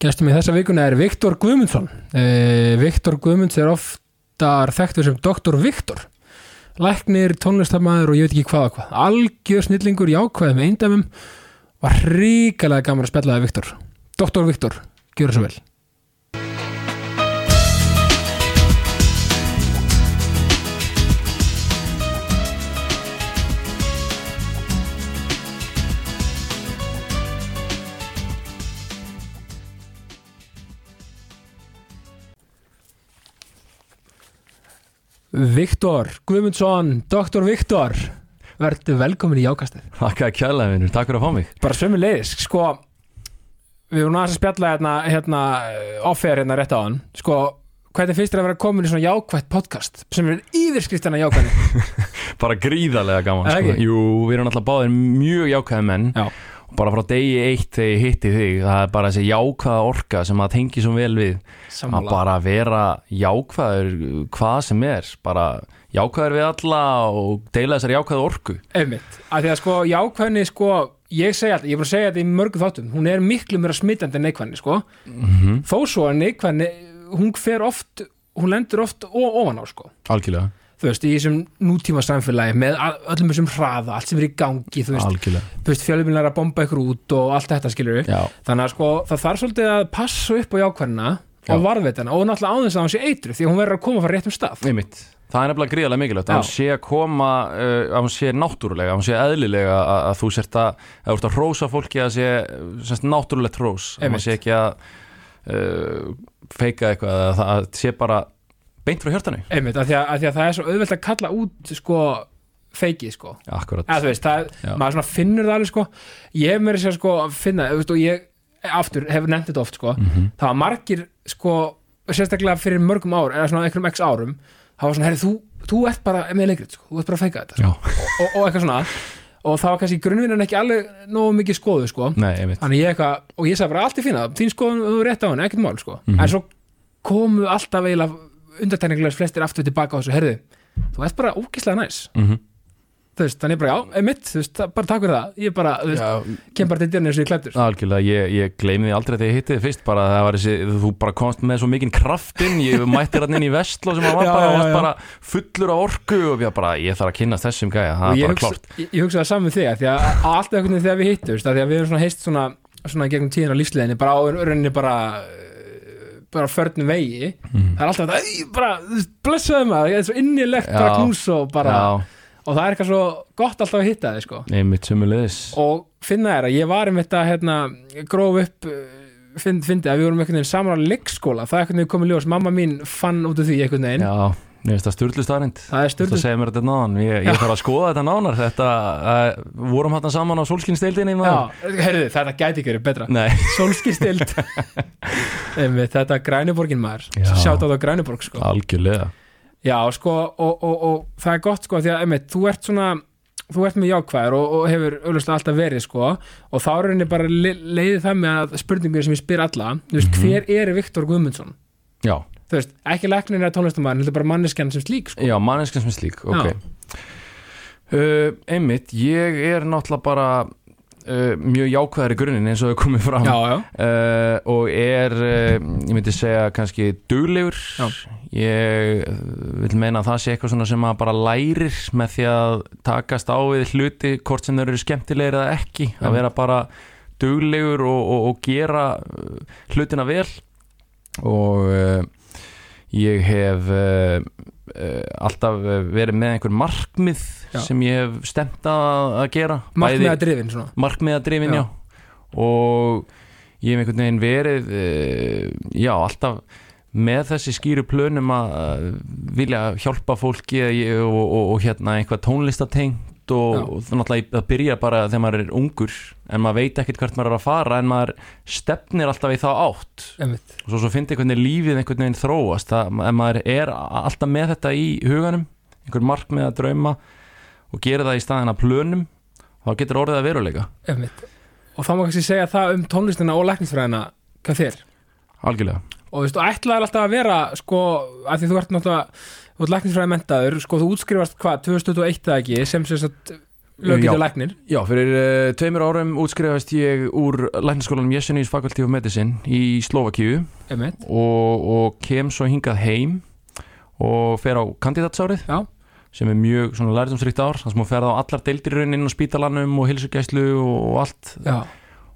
Gestur með þessa vikuna er Viktor Guðmundsson. Uh, Viktor Guðmunds er oftar þekktur sem Dr. Viktor. Læknir, tónlistamæður og ég veit ekki hvað og hvað. Algjör snillingur, jákvæðum, eindæmum. Var ríkalega gaman að spjallaði Viktor. Dr. Viktor, gjör það svo vel. Viktor Guðmundsson, Dr. Viktor, verður velkomin í jákastið. Takk að kjæðlega vinnur, takk fyrir að fá mig bara sömu leiðis sko við vorum aðeins að spjalla hérna, hérna off-air hérna rétt á hann sko hvernig finnst þér að vera komin í svona jákvætt podcast sem er yfirskriftina jákvæðin Bara gríðarlega gaman Er það sko. ekki? Jú, við erum alltaf báðir mjög jákvæði menn Já. Og Bara frá degi eitt þegar ég hitti þig Það er bara þessi jákvæða orka sem að tengi svo vel við Að bara vera jákvæður hvað sem er Bara jákvæður við alla og deila þessari jákvæða orku einmitt, af því að sko jákvæðinni sko ég segi alltaf, ég er búin að segja þetta í mörgu þáttum hún er miklu mér að smittandi en neikvæðinni sko -hmm. þó svo að neikvæðinni, hún fer oft hún lendur oft o- ofan á sko Algjörlega, þú veist, í þessum nútíma samfélagi með a- öllum þessum hraða, allt sem er í gangi þú veist, algjörlega þú veist fjölumilnar að bomba ykkur út og allt þetta skilur við Já, þannig að sko það þarf svolítið að passa upp á jákvæðina og Já. varðveitana og náttúrulega áðins að hún sé eitru því að hún verður að koma frá réttum stað einmitt Það er nefnilega gríðarlega mikilvægt að Já. hún sé að koma, uh, að hún sé náttúrulega, að hún sé eðlilega að, að þú sért að, að þú ert að rósa fólki að sé uh, semst, náttúrulegt rós, að Einmitt. hún sé ekki að uh, feika eitthvað, að það að það sé bara beint frá hjörtanu. einmitt, af því, að, af því að það er svo auðvelt að kalla út sko feikið sko Akkurat. eða þú veist, það, Já. maður svona finnur það alveg sko ég hef meiri sér sko að finna þú veist, og ég aftur hef nefnt þetta oft sko Mm. Mhm. það var margir sko sérstaklega fyrir mörgum ár, eða svona einhverjum x árum það var svona, herri, þú, þú ert bara með leikrið, sko, þú ert bara að feika þetta sko. Já. og, og eitthvað svona og það var kannski í grunnvinnan ekki alveg nógu mikið skoðu sko Nei, einmitt. Þannig ég eitthvað, og ég sagði bara allt í fína þín skoðum þú hefur rétt á hann, ekkert mál sko Mhm. en svo komu alltaf eiginlega undartækninglega flestir aftur tilbaka á þessu herðu, þú ert bara ógislega næs Mm þú veist, þannig ég bara, já, emitt, þú veist, það- bara takk fyrir það ég bara, þú veist, kem bara til dyrna eins og ég klættur Algjörlega, ég, ég gleymi því aldrei þegar ég hitti þið fyrst bara að það var þessi, þú bara komst með svo mikinn kraftinn, ég mætti hann inn í vestló sem að var Já, bara, já, og varst já. bara fullur á orku og ég bara, ég þarf að kynast þessum gæja, það og er ég Ah, bara hugsa, klárt. ég, ég hugsa það saman þig að því að að alltaf einhvern veginn þegar við hittum, þú veist, að því að við erum svona heist svona, svona í gegnum tíðin á lífsleginni bara á rauninni bara eh, bara förnum vegi, Mhm. það er alltaf þetta, "Æ, bara, þú veist, blessaðu maður, þetta er svo innilegt bara Já. knús og bara Já, og það er eitthvað svo gott alltaf að hitta þið sko. einmitt sömulegis og finna þér að ég var einmitt að hérna, gróf upp uh, fynd, fyndi að við vorum einhvern veginn saman á leikskóla það er einhvern veginn komið ljós, mamma mín fann út af því einhvern veginn, Já, mér finnst það styrlu starind það er Það styrlust segir mér þetta náðan, ég, ég þarf að skoða þetta nánar Þetta, uh, vorum hann saman á solskinsteildinni Já, heyrðu, þetta gæti ekki verið betra Nei, Solskistild einmitt, Þetta grænuborgin maður Já. Sjátt á það grænuborg sko algjörlega Já, sko, og, og, og það er gott sko því að, einmitt, þú ert svona þú ert með jákvæður og, og hefur auðvitað alltaf verið sko og þá er henni bara le leiðið það með að spurningu sem ég spyr alla þú veist, hver er Viktor Guðmundsson? Já, Þú veist, ekki læknirinn eða tónlistamæðin, heldur bara manneskjan sem slík sko. já manneskinn sem er slík okay. uh, Einmitt, ég er náttúrulega bara uh, mjög jákvæðar í grunninn eins og það komið fram Já, já, uh, og er uh, ég myndi segja kannski duglegur Já. ég uh, vil meina að það sé eitthvað svona sem maður bara lærir með því að takast á við hluti hvort sem þeir eru skemmtilegir eða ekki Já. að vera bara duglegur og, og, og gera uh, hlutina vel og uh, ég hef uh, uh, alltaf uh, verið með einhver markmið Já. sem ég hef stemt að, að gera margt með Bæði- að drifin svona markmiðadrifin, Já. já. og ég hef einhvern veginn verið eh, já, alltaf með þessi skýru plönum að eh, vilja hjálpa fólki að ég- og, og, og hérna einhvað tónlistatengt Já. og, og það náttúrulega að byrja bara þegar maður er ungur en maður veit ekkert hvert maður er að fara en maður stefnir alltaf í þá átt einmitt, og svo, svo finnir hvernig lífið einhvern veginn þróast það, en maður er alltaf með þetta í huganum einhver markmið að drauma og gera það í staðina plönum þá getur orðið að veruleika einmitt og þá má kannski segja það um tónlistina og læknisfræðina hvað þér? Algjörlega og þú veist, og ætlaðir alltaf að vera sko, að því þú ert náttúrulega þú ert læknisfræði mentaður, sko, þú útskrifast hvað 2001 eða ekki, sem sem sagt löggildur Já. læknir Já, fyrir uh, tveimur árum útskrifast ég úr læknaskólanum Jesenius Faculty of Medicine í Slovakíu einmitt. og, og kem svo hingað heim og fer á kandidatsárið Já. sem er mjög svona lærdomsrikt ár þar sem hún ferð á allar deildir í rauninni á spítalanum og hilsugæslu og, og allt Já.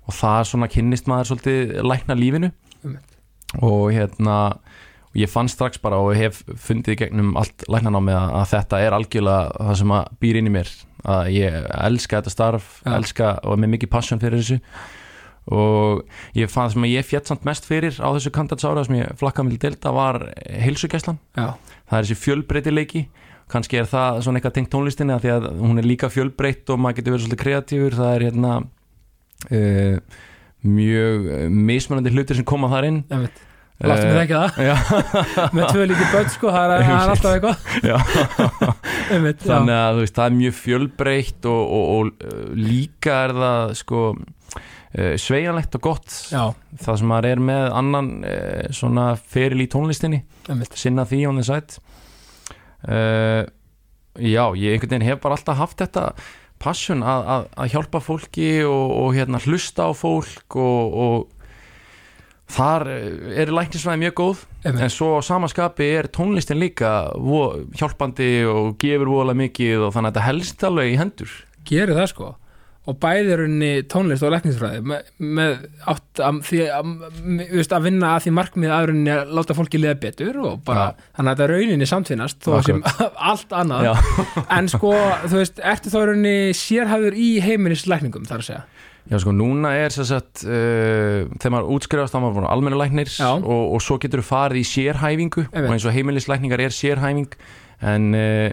og það svona kynnist maður svolítið lækna lífinu Einmitt. og hérna og ég fann strax bara og hef fundið í gegnum allt læknanámið að að þetta er algjörlega það sem að býr inn í mér að ég elska þetta starf Já. elska og er með mikið passion fyrir þessu og ég fann það sem að ég fjett samt mest fyrir á þessu kandatsára sem ég flakkaði með til delta var heilsugæslan Já. það er þessi fjölbreytileiki kannski er það svona eitthvað tengt tónlistinni að því að hún er líka fjölbreytt og maður getur verið svolítið kreatífur það er hérna uh, mjög eh, mismunandi hlutir sem koma þar inn einmitt. láttu mig Eh, þekka það já, með tvö líki börn sko, það er, það er alltaf eitthvað já. einmitt, já. þannig að þú veist, það er mjög fjölbreytt og, og, og eh, líka er það sko uh, sveigjanlegt og gott Já, það sem maður er með annan uh, svona feril í tónlistinni einmitt. sinna því on the side uh, já, ég einhvern veginn hef bara alltaf haft þetta passion að, að, að hjálpa fólki og, og hérna, hlusta á fólk og, og þar eh, er læknisfræði mjög góð einmitt. en svo á sama samaskapi er tónlistin líka vo, hjálpandi og gefur voðalega mikið og þannig að þetta helst alveg í hendur gerir það sko og bæði runni tónlist og læknisfræði með, með átt að, því, að, m- þú veist, að vinna að því markmið að runni að láta fólki liða betur og bara, þannig að þetta rauninni samtvinnast þó sem allt annað Já. en sko, þú veist, ertu þá runni sérhæður í heiminis lækningum þar að segja Já sko, núna er sem sagt uh, þegar maður útskrifast þá maður búin almennulæknir Já. og, og svo getur þú farið í sérhæfingu Einmitt. og eins og heimilislækningar er sérhæfing en uh,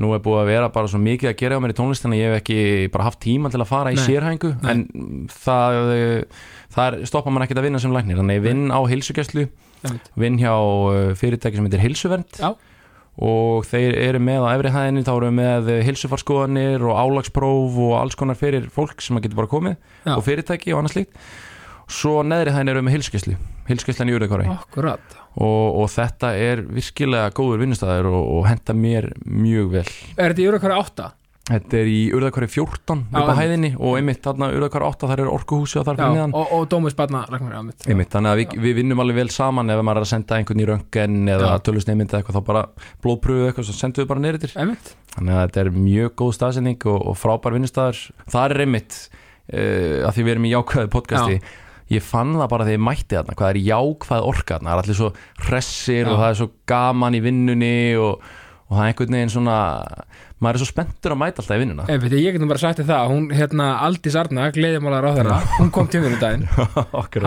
nú er búið að vera bara svo mikið að gera á mér í tónlistina ég hef ekki bara haft tíma til að fara í Nei. sérhæfingu Nei. en mm, það, uh, það stoppa maður ekkert að vinna sem læknir þannig að ég vinn á heilsugæslu Einmitt. vinn hjá uh, fyrirtæki sem heitir Heilsuvernd Já. og þeir eru með á efri hæðinni, þá eru með uh, heilsufarskoðanir og álagspróf og alls konar fyrir fólk sem að getur bara komið Já. og fyrirtæki og annað slíkt svo neðri hæðin eru við með heilskeslu heilskeslan í Uruguari akkurat, og, og þetta er virkilega góður vinnustæður og, og henda mér mjög vel er þetta í úr okkar átta? þetta er í Uruguari 14 Já, upp á einmitt. hæðinni og einmitt þarna Uruguari 8 þar eru orkuhúsi og þar Já, fyrir neðan og, og dómus barna læknir á mitt Einmitt, þannig að við, við vinnum alveg vel saman ef maður er að senda einhvern í röngen eða Já. tölusneymynd eða eitthvað þá bara blóðpröfu eitthvað svo sendum við bara neyrir til einmitt, þannig að þetta er mjög góð staðsending og, og frábær vinnustæður það er einmitt uh, að því við erum í jákvæðu podcasti ég fann það bara þegar ég mætti þarna hvað er jákvæð orka þarna, það er allir svo hressir Já. og það er svo gaman í vinnunni og, og það er einhvern veginn svona maður er svo spenntur að mæta alltaf í vinnuna einmitt, ég getum bara sagt þér það hún, hérna, Aldís Arna, gleðjumálar á þeirra hún kom til mér um daginn Akkurat.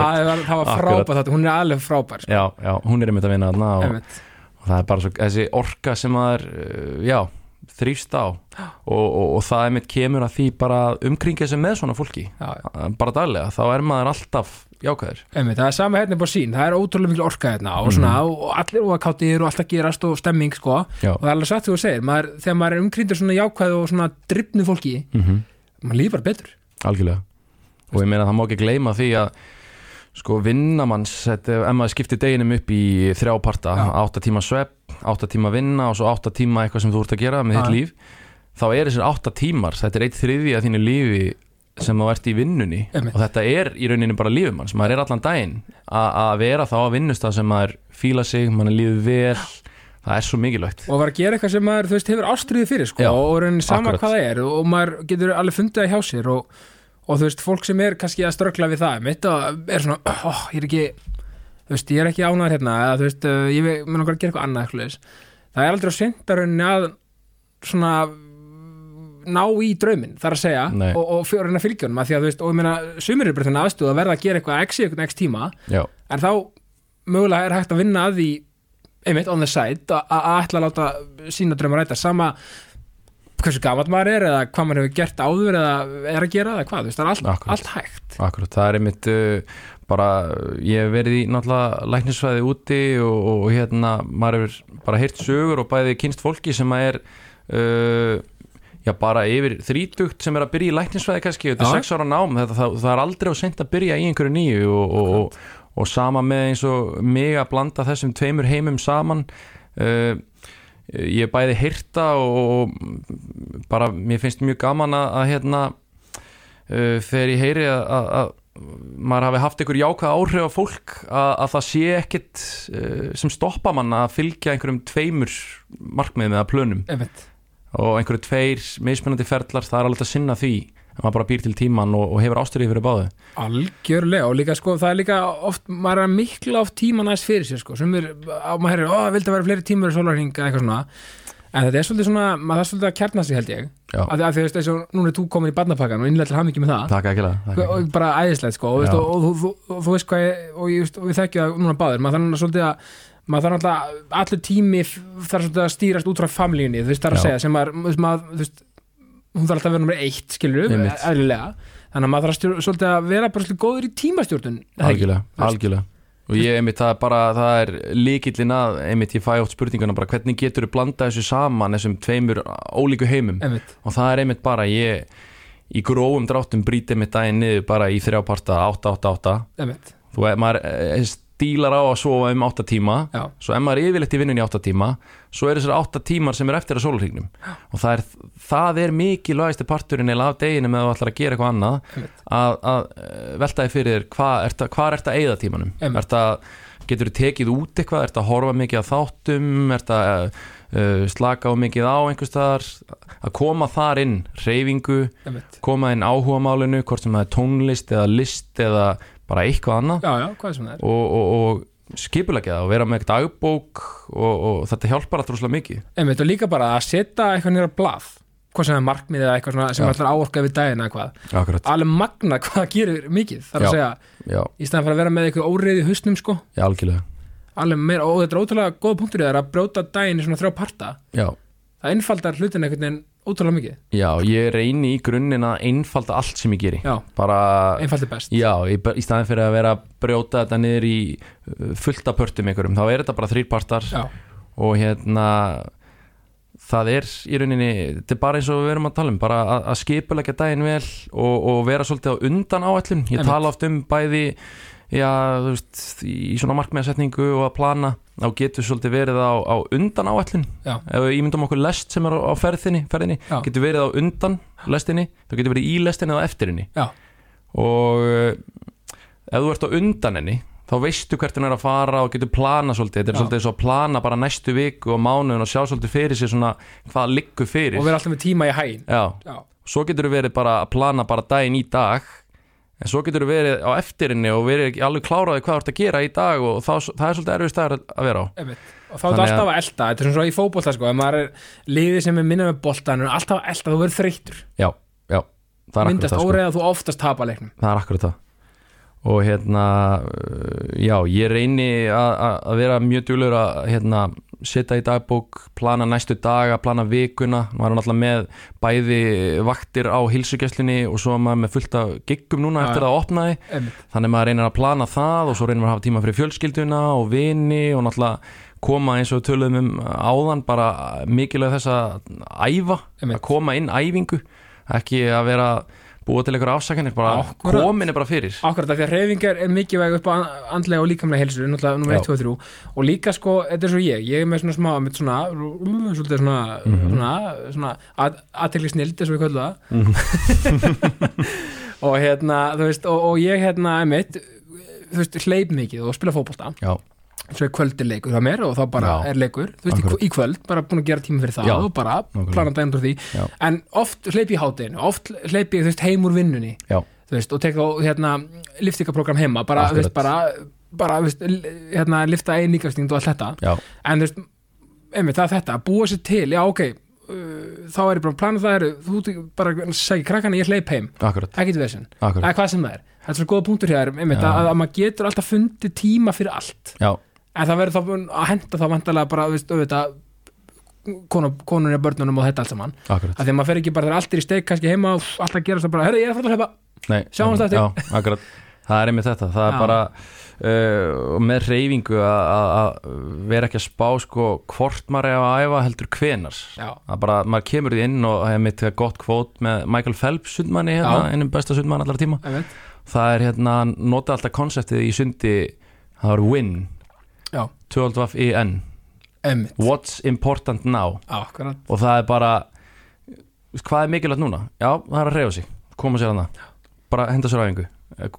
það var, það var Akkurat. frábært, þetta, hún er alveg frábær sko. já, já, hún er einmitt að vinna þarna og, einmitt, og það er bara svo, þessi orka sem maður eh, já, þrýfst á og, og, og það einmitt kemur að því bara að umkringja sig með svona fólki já, já Eh, bara daglega, þá er maður alltaf jákvæður Einmitt, það er sama hérna búið sín, það er ótrúlega mikil orka hérna og svona, og allir óakáttir og allt að gerast og stemming, sko, Já. og það er alveg satt þú að segir, maður, þegar maður er umkrýndur svona jákvæð og svona drifnu fólki, mm maður lífar betur algjörlega og ég meina það má ekki gleyma því að sko vinnamanns, þetta, ef maður skiptir deginum upp í þrjá parta, Já. átta tíma svepp átta tíma vinna og svo átta tíma eitthvað sem þú ert að gera með Já. þitt líf þá er þessir átta tímar, þetta er eitt þriði af þínu lífi sem þú ert í vinnunni Einmitt. og þetta er í rauninu bara lífumanns maður er allan daginn a- að vera þá að vinnust sem maður fíla sig, maður líður vel það er svo mikilvægt og var að gera eitthvað sem maður, þú veist, hefur ástriði fyrir, sko, Já, og raunin sama akkurat. hvað það er og maður getur alveg fundið það hjá sér og, og þú veist, fólk sem er kannski að ströggla við það, mitt og er svona, oh, ég er ekki, þú veist, ég er ekki ánæður hérna, eða þú veist, eh, ég vil- mun okkur að gera eitthvað annað, eitthvað, það er aldrei að synda rauninni að svona ná í drauminn, þar að segja Nei. og, og fyrir hennar fylgjónum, að því að þú veist og ég meina, sumir er bara þennan aðstuð að verða að gera eitthvað x í eitthvað x tíma, Já. en þá mögulega er hægt að vinna að því einmitt on the side, a- a- að ætla að láta sína drauma ræta, sama hversu gamall maður er eða hvað maður hefur gert áður eða er að gera eða hvað, þú veist, það er allt, Akkurat. allt hægt Akkurat, það er einmitt uh, bara, uh, ég hef verið í náttúrulega læknisfræði úti og, og, og hérna maður hefur bara heyrt sögur og bæði kynst fólki sem að er uh, já bara yfir þrítugt sem er að byrja í læknisfræði kannski þetta Já. er sex ára nám, þetta, það, það er aldrei á seint að byrja í einhverju nýju og, og, og, og sama með eins og mig að blanda þessum tveimur heimum saman uh, ég er bæði heyrta og bara mér finnst mjög gaman að, að hérna uh, þegar ég heyri að, að, að maður hafi haft einhver jákvæð áhrif á fólk að, að það sé ekkit uh, sem stoppa mann að fylgja einhverjum tveimur markmiðum eða plönum einmitt, og einhverju tveir mismunandi ferlar það er alveg að sinna því að maður bara býr til tíman og, og hefur ástyrðið fyrir báðu algjörlega og líka sko, það er líka oft, maður er að mikla oft tíma næst fyrir sér sko, sem er, á maður heyrir, ó, vildi að vera fleiri tímur í sólarhing eða eitthvað svona, en þetta er svolítið svona maður þarf svolítið að kjarna sig held ég Já. af því að þú veist, eins og núna er þú komin í barnapakkan og innlega til hammingi með það Takk ekki Ah. og og bara æðislegt sko og, veist, Já. og, og, þú- þú- og þú veist hvað ég, og, ég, veist, og við þekkjum það núna báðir maður þannig að svolítið að maður þarf alltaf allur tími f- þarf svolítið að stýrast út frá famlíunni þú veist það er að Já. segja sem maður, þú veist, maður þú veist, hún þarf alltaf að vera nummer eitt skilur við Einmitt. eðlilega þannig að maður þarf að stjórn, svolítið að vera bara svolítið góður í tímastjórnun er það ekki? Algjörlega, veist. algjörlega og ég einmitt það er bara, það er líkillin að einmitt ég fæ oft spurninguna bara hvernig getur þú blanda þessu saman þessum tveimur ólíku heimum Einmitt. og það er einmitt bara ég í grófum dráttum brýti einmitt daginn niður bara í þrjáparta 8-8-8 Einmitt. þú veist, maður eh, stílar á að sofa um 8 tíma Já. svo ef maður er yfirleitt í vinnunni í 8 tíma svo eru þessar 8 tímar sem eru eftir að sólurhringnum og það er, það er mikilvægasti parturinn eða af deginum eða þú ætlar að gera eitthvað annað Einmitt. að, að eh, velta þér fyrir þér hvað ert, hva ert að eigða tímanum Einmitt. ert að, getur þú tekið út eitthvað ert að horfa mikið að þáttum ert að uh, slaka á mikið á einhvers staðar að koma þar inn reyfingu, Einmitt. koma inn áhugamálinu hvort sem það er tónlist eða list eða bara eitthvað annað já, já, hvað sem það er og, og, og skipulegja það og vera með eitthvað dagbók og, og þetta hjálpar alltaf rosalega mikið Einmitt, og líka bara að setja eitthvað nýra blað hvað sem er markmið eða eitthvað svona sem Já. ætlar að áorka við daginn eða hvað Akkurat, alveg magna hvað það gerir mikið þar Já. að segja já, í staðan fyrir að vera með eitthvað óreiði í hausnum sko, já, algjörlega alveg meira, og þetta er ótrúlega góða punktur í það er að brjóta daginn í svona þrjá parta Já, það einfaldar hlutin einhvern veginn ótrúlega mikið já ég reyni í grunninn að einfalda allt sem ég geri já, bara, einfald er best já, í, í staðin fyrir að vera að brjóta þetta niður í uh, fullt af pörtum einhverjum, þá er þetta bara þrír partar já, og hérna það er í rauninni þetta er bara eins og við erum að tala um bara að, að skipulegja daginn vel og, og vera svolítið á undan áætlun ég Einmitt. tala oft um bæði já, þú veist, í svona markmiðasetningu og að plana þá getur svolítið verið á, á undan áætlun já, ef við ímyndum okkur lest sem er á, á ferðinni, ferðinni Já. getur verið á undan lestinni þá getur verið í lestinni eða á eftirinni já, og eh, ef þú ert á undan henni þá veistu hvert hann er að fara og getur plana svolítið, þetta er Já. svolítið eins og að plana bara næstu viku og mánuðin og sjá svolítið fyrir sér svona hvað liggur fyrir og vera alltaf með tíma í hægin Já, já, svo getur þú verið bara að plana bara daginn í dag en svo getur þú verið á eftirinni og verið ekki alveg kláraði hvað þú ert að gera í dag og það, það er svolítið erfið staðar að vera á einmitt og þá er þetta Þannig að- alltaf að elta, þetta er svona svo í fótbolta sko, ef maður er liðið sem er minna með boltan er alltaf að elta, þú verður þreyttur Já, já, það er akkurat myndast það sko. óreiða, þú oftast tapa leiknum það er akkurat það og hérna uh, já, ég reyni að- að að vera mjög djúlur að hérna, setja í dagbók, plana næstu daga plana vikuna, nú er hann alltaf með bæði vaktir á hilsugjæslinni og svo er maður með fullt af giggum núna Já, já. eftir að það opnaði, einmitt, þannig maður reynir að plana það og svo reynir maður að hafa tíma fyrir fjölskylduna og vini og náttúrulega koma eins og við töluðum um áðan bara mikilvæg þess að æfa Einmitt. að koma inn æfingu ekki að vera búa til einhverja afsakanir bara Akkúrat. komin er bara fyrir akkurat af því að reyfingar er mikið veg upp á an- andlega og líkamlega helsu, náttúrulega nummer Já. 1, 2 og 3 og líka sko, þetta er svo ég, ég er með svona smá með svona, svolítið svona Mhm. svona, svona aðtegli snild eins og við köllum það Mhm. og hérna, þú veist og, og ég hérna, emitt þú veist, hleyp mikið og spila fótbolta já, svo er kvöldi leikur hjá mér og þá bara Já. er leikur, þú veist, Akkurat. í, í kvöld bara búin að gera tíma fyrir það Já. og bara Nákvæmlega. plana daginn úr því, Já. en oft hleyp ég hátinn, oft hleyp ég, þú veist, heim úr vinnunni já, þú veist, og teka á, hérna, liftingaprogram heima, bara, þú veist, bara, bara, þú veist, l- hérna, lifta einn líkastingd og allt þetta, já, en þú veist, einmitt, það er þetta, búa sér til, já, ok, uh, þá er ég bara að plana það, er, þú tek- bara segi krakkana, ég hleyp heim, akkurat, ekkert vesinn, akkurat. eða hvað sem það er, þetta er svo góða punktur hér, einmitt, Já. að, að maður getur alltaf fundið tíma fyrir allt, já, en það verður þá að henda þá vantarlega bara, þú veist, auðvitað, konur, konur er börnunum og þetta allt saman, akkurat að því að maður fer ekki bara, þegar allt er í steik, kannski heima og alltaf gerast það bara, herri, ég er að fara að hleypa, Nei, Sjáumst akkurat. eftir. já, akkurat. það er einmitt þetta það er Já. bara uh, og með reyfingu að- að að vera ekki að spá sko hvort maður er að æfa heldur hvenars já, að bara maður kemur því inn og hef mitt gott kvót með Michael Phelps sundmanni hérna, Já. einum besta sundmann allar tíma einmitt, það er hérna, hann nota alltaf konseptið í sundi það er win, já. 12 in emmitt, E what's important now akkurat og það er bara hvað er mikilvægt núna? Já, það er að reyfa sig koma sér hana, bara henda sér á einhver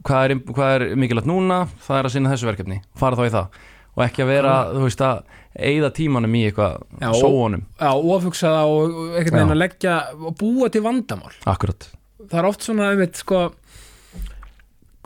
hvað er, hvað er mikilvægt núna það er að sinna þessu verkefni, fara þá í það og ekki að vera, þú veist að eigða tímanum í Já, eitthvað og- sóunum, Já, ofugsaða og og einhvern veginn Já. að leggja og búa til vandamál akkurat það er oft svona einmitt sko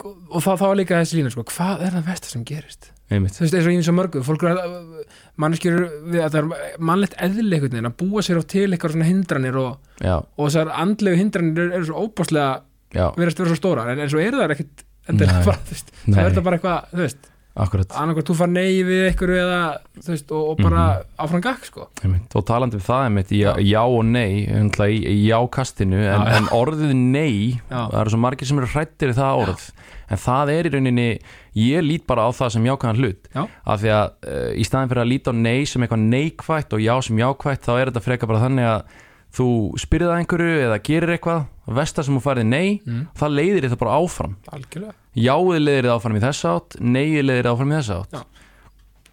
og það, það var líka þessi línu sko, hvað er það versta sem gerist einmitt, þú veist eins og eins og mörgu fólk er að, manneskjur eru við að það er mannlegt eðli einhvern veginn að búa sér á til eitthvað svona hindranir og, já, og þessar andlegu hindranir eru, eru svo óbáslega já, verðast vera svo stórar en eins og eru þar ekkit endilega Nei. bara, þú veist, Nei. það er það bara eitthvað þú veist, akkurat annarkvært þú far nei við einhverju eða þú veist, og, og bara Mhm. áfram gakk sko einmitt. og talandi um það einmitt, já, já og nei undla, já kastinu, en, Já. en orðið nei Já. það eru svo margir sem eru hrættir í það orð, en það er í rauninni ég lít bara á það sem jákvæðan hlut Já. af því að uh, í staðin fyrir að líta á nei sem eitthvað neikvætt og já sem jákvætt þá er þetta frekar bara þannig að þú spyrðið að einhverju eða gerir eitthvað vestar sem þú færði nei, það leiðir þetta bara áfram algjörlega, jáið leiðir þið áfram í þess átt neiið leiðir þið áfram í þess átt Já.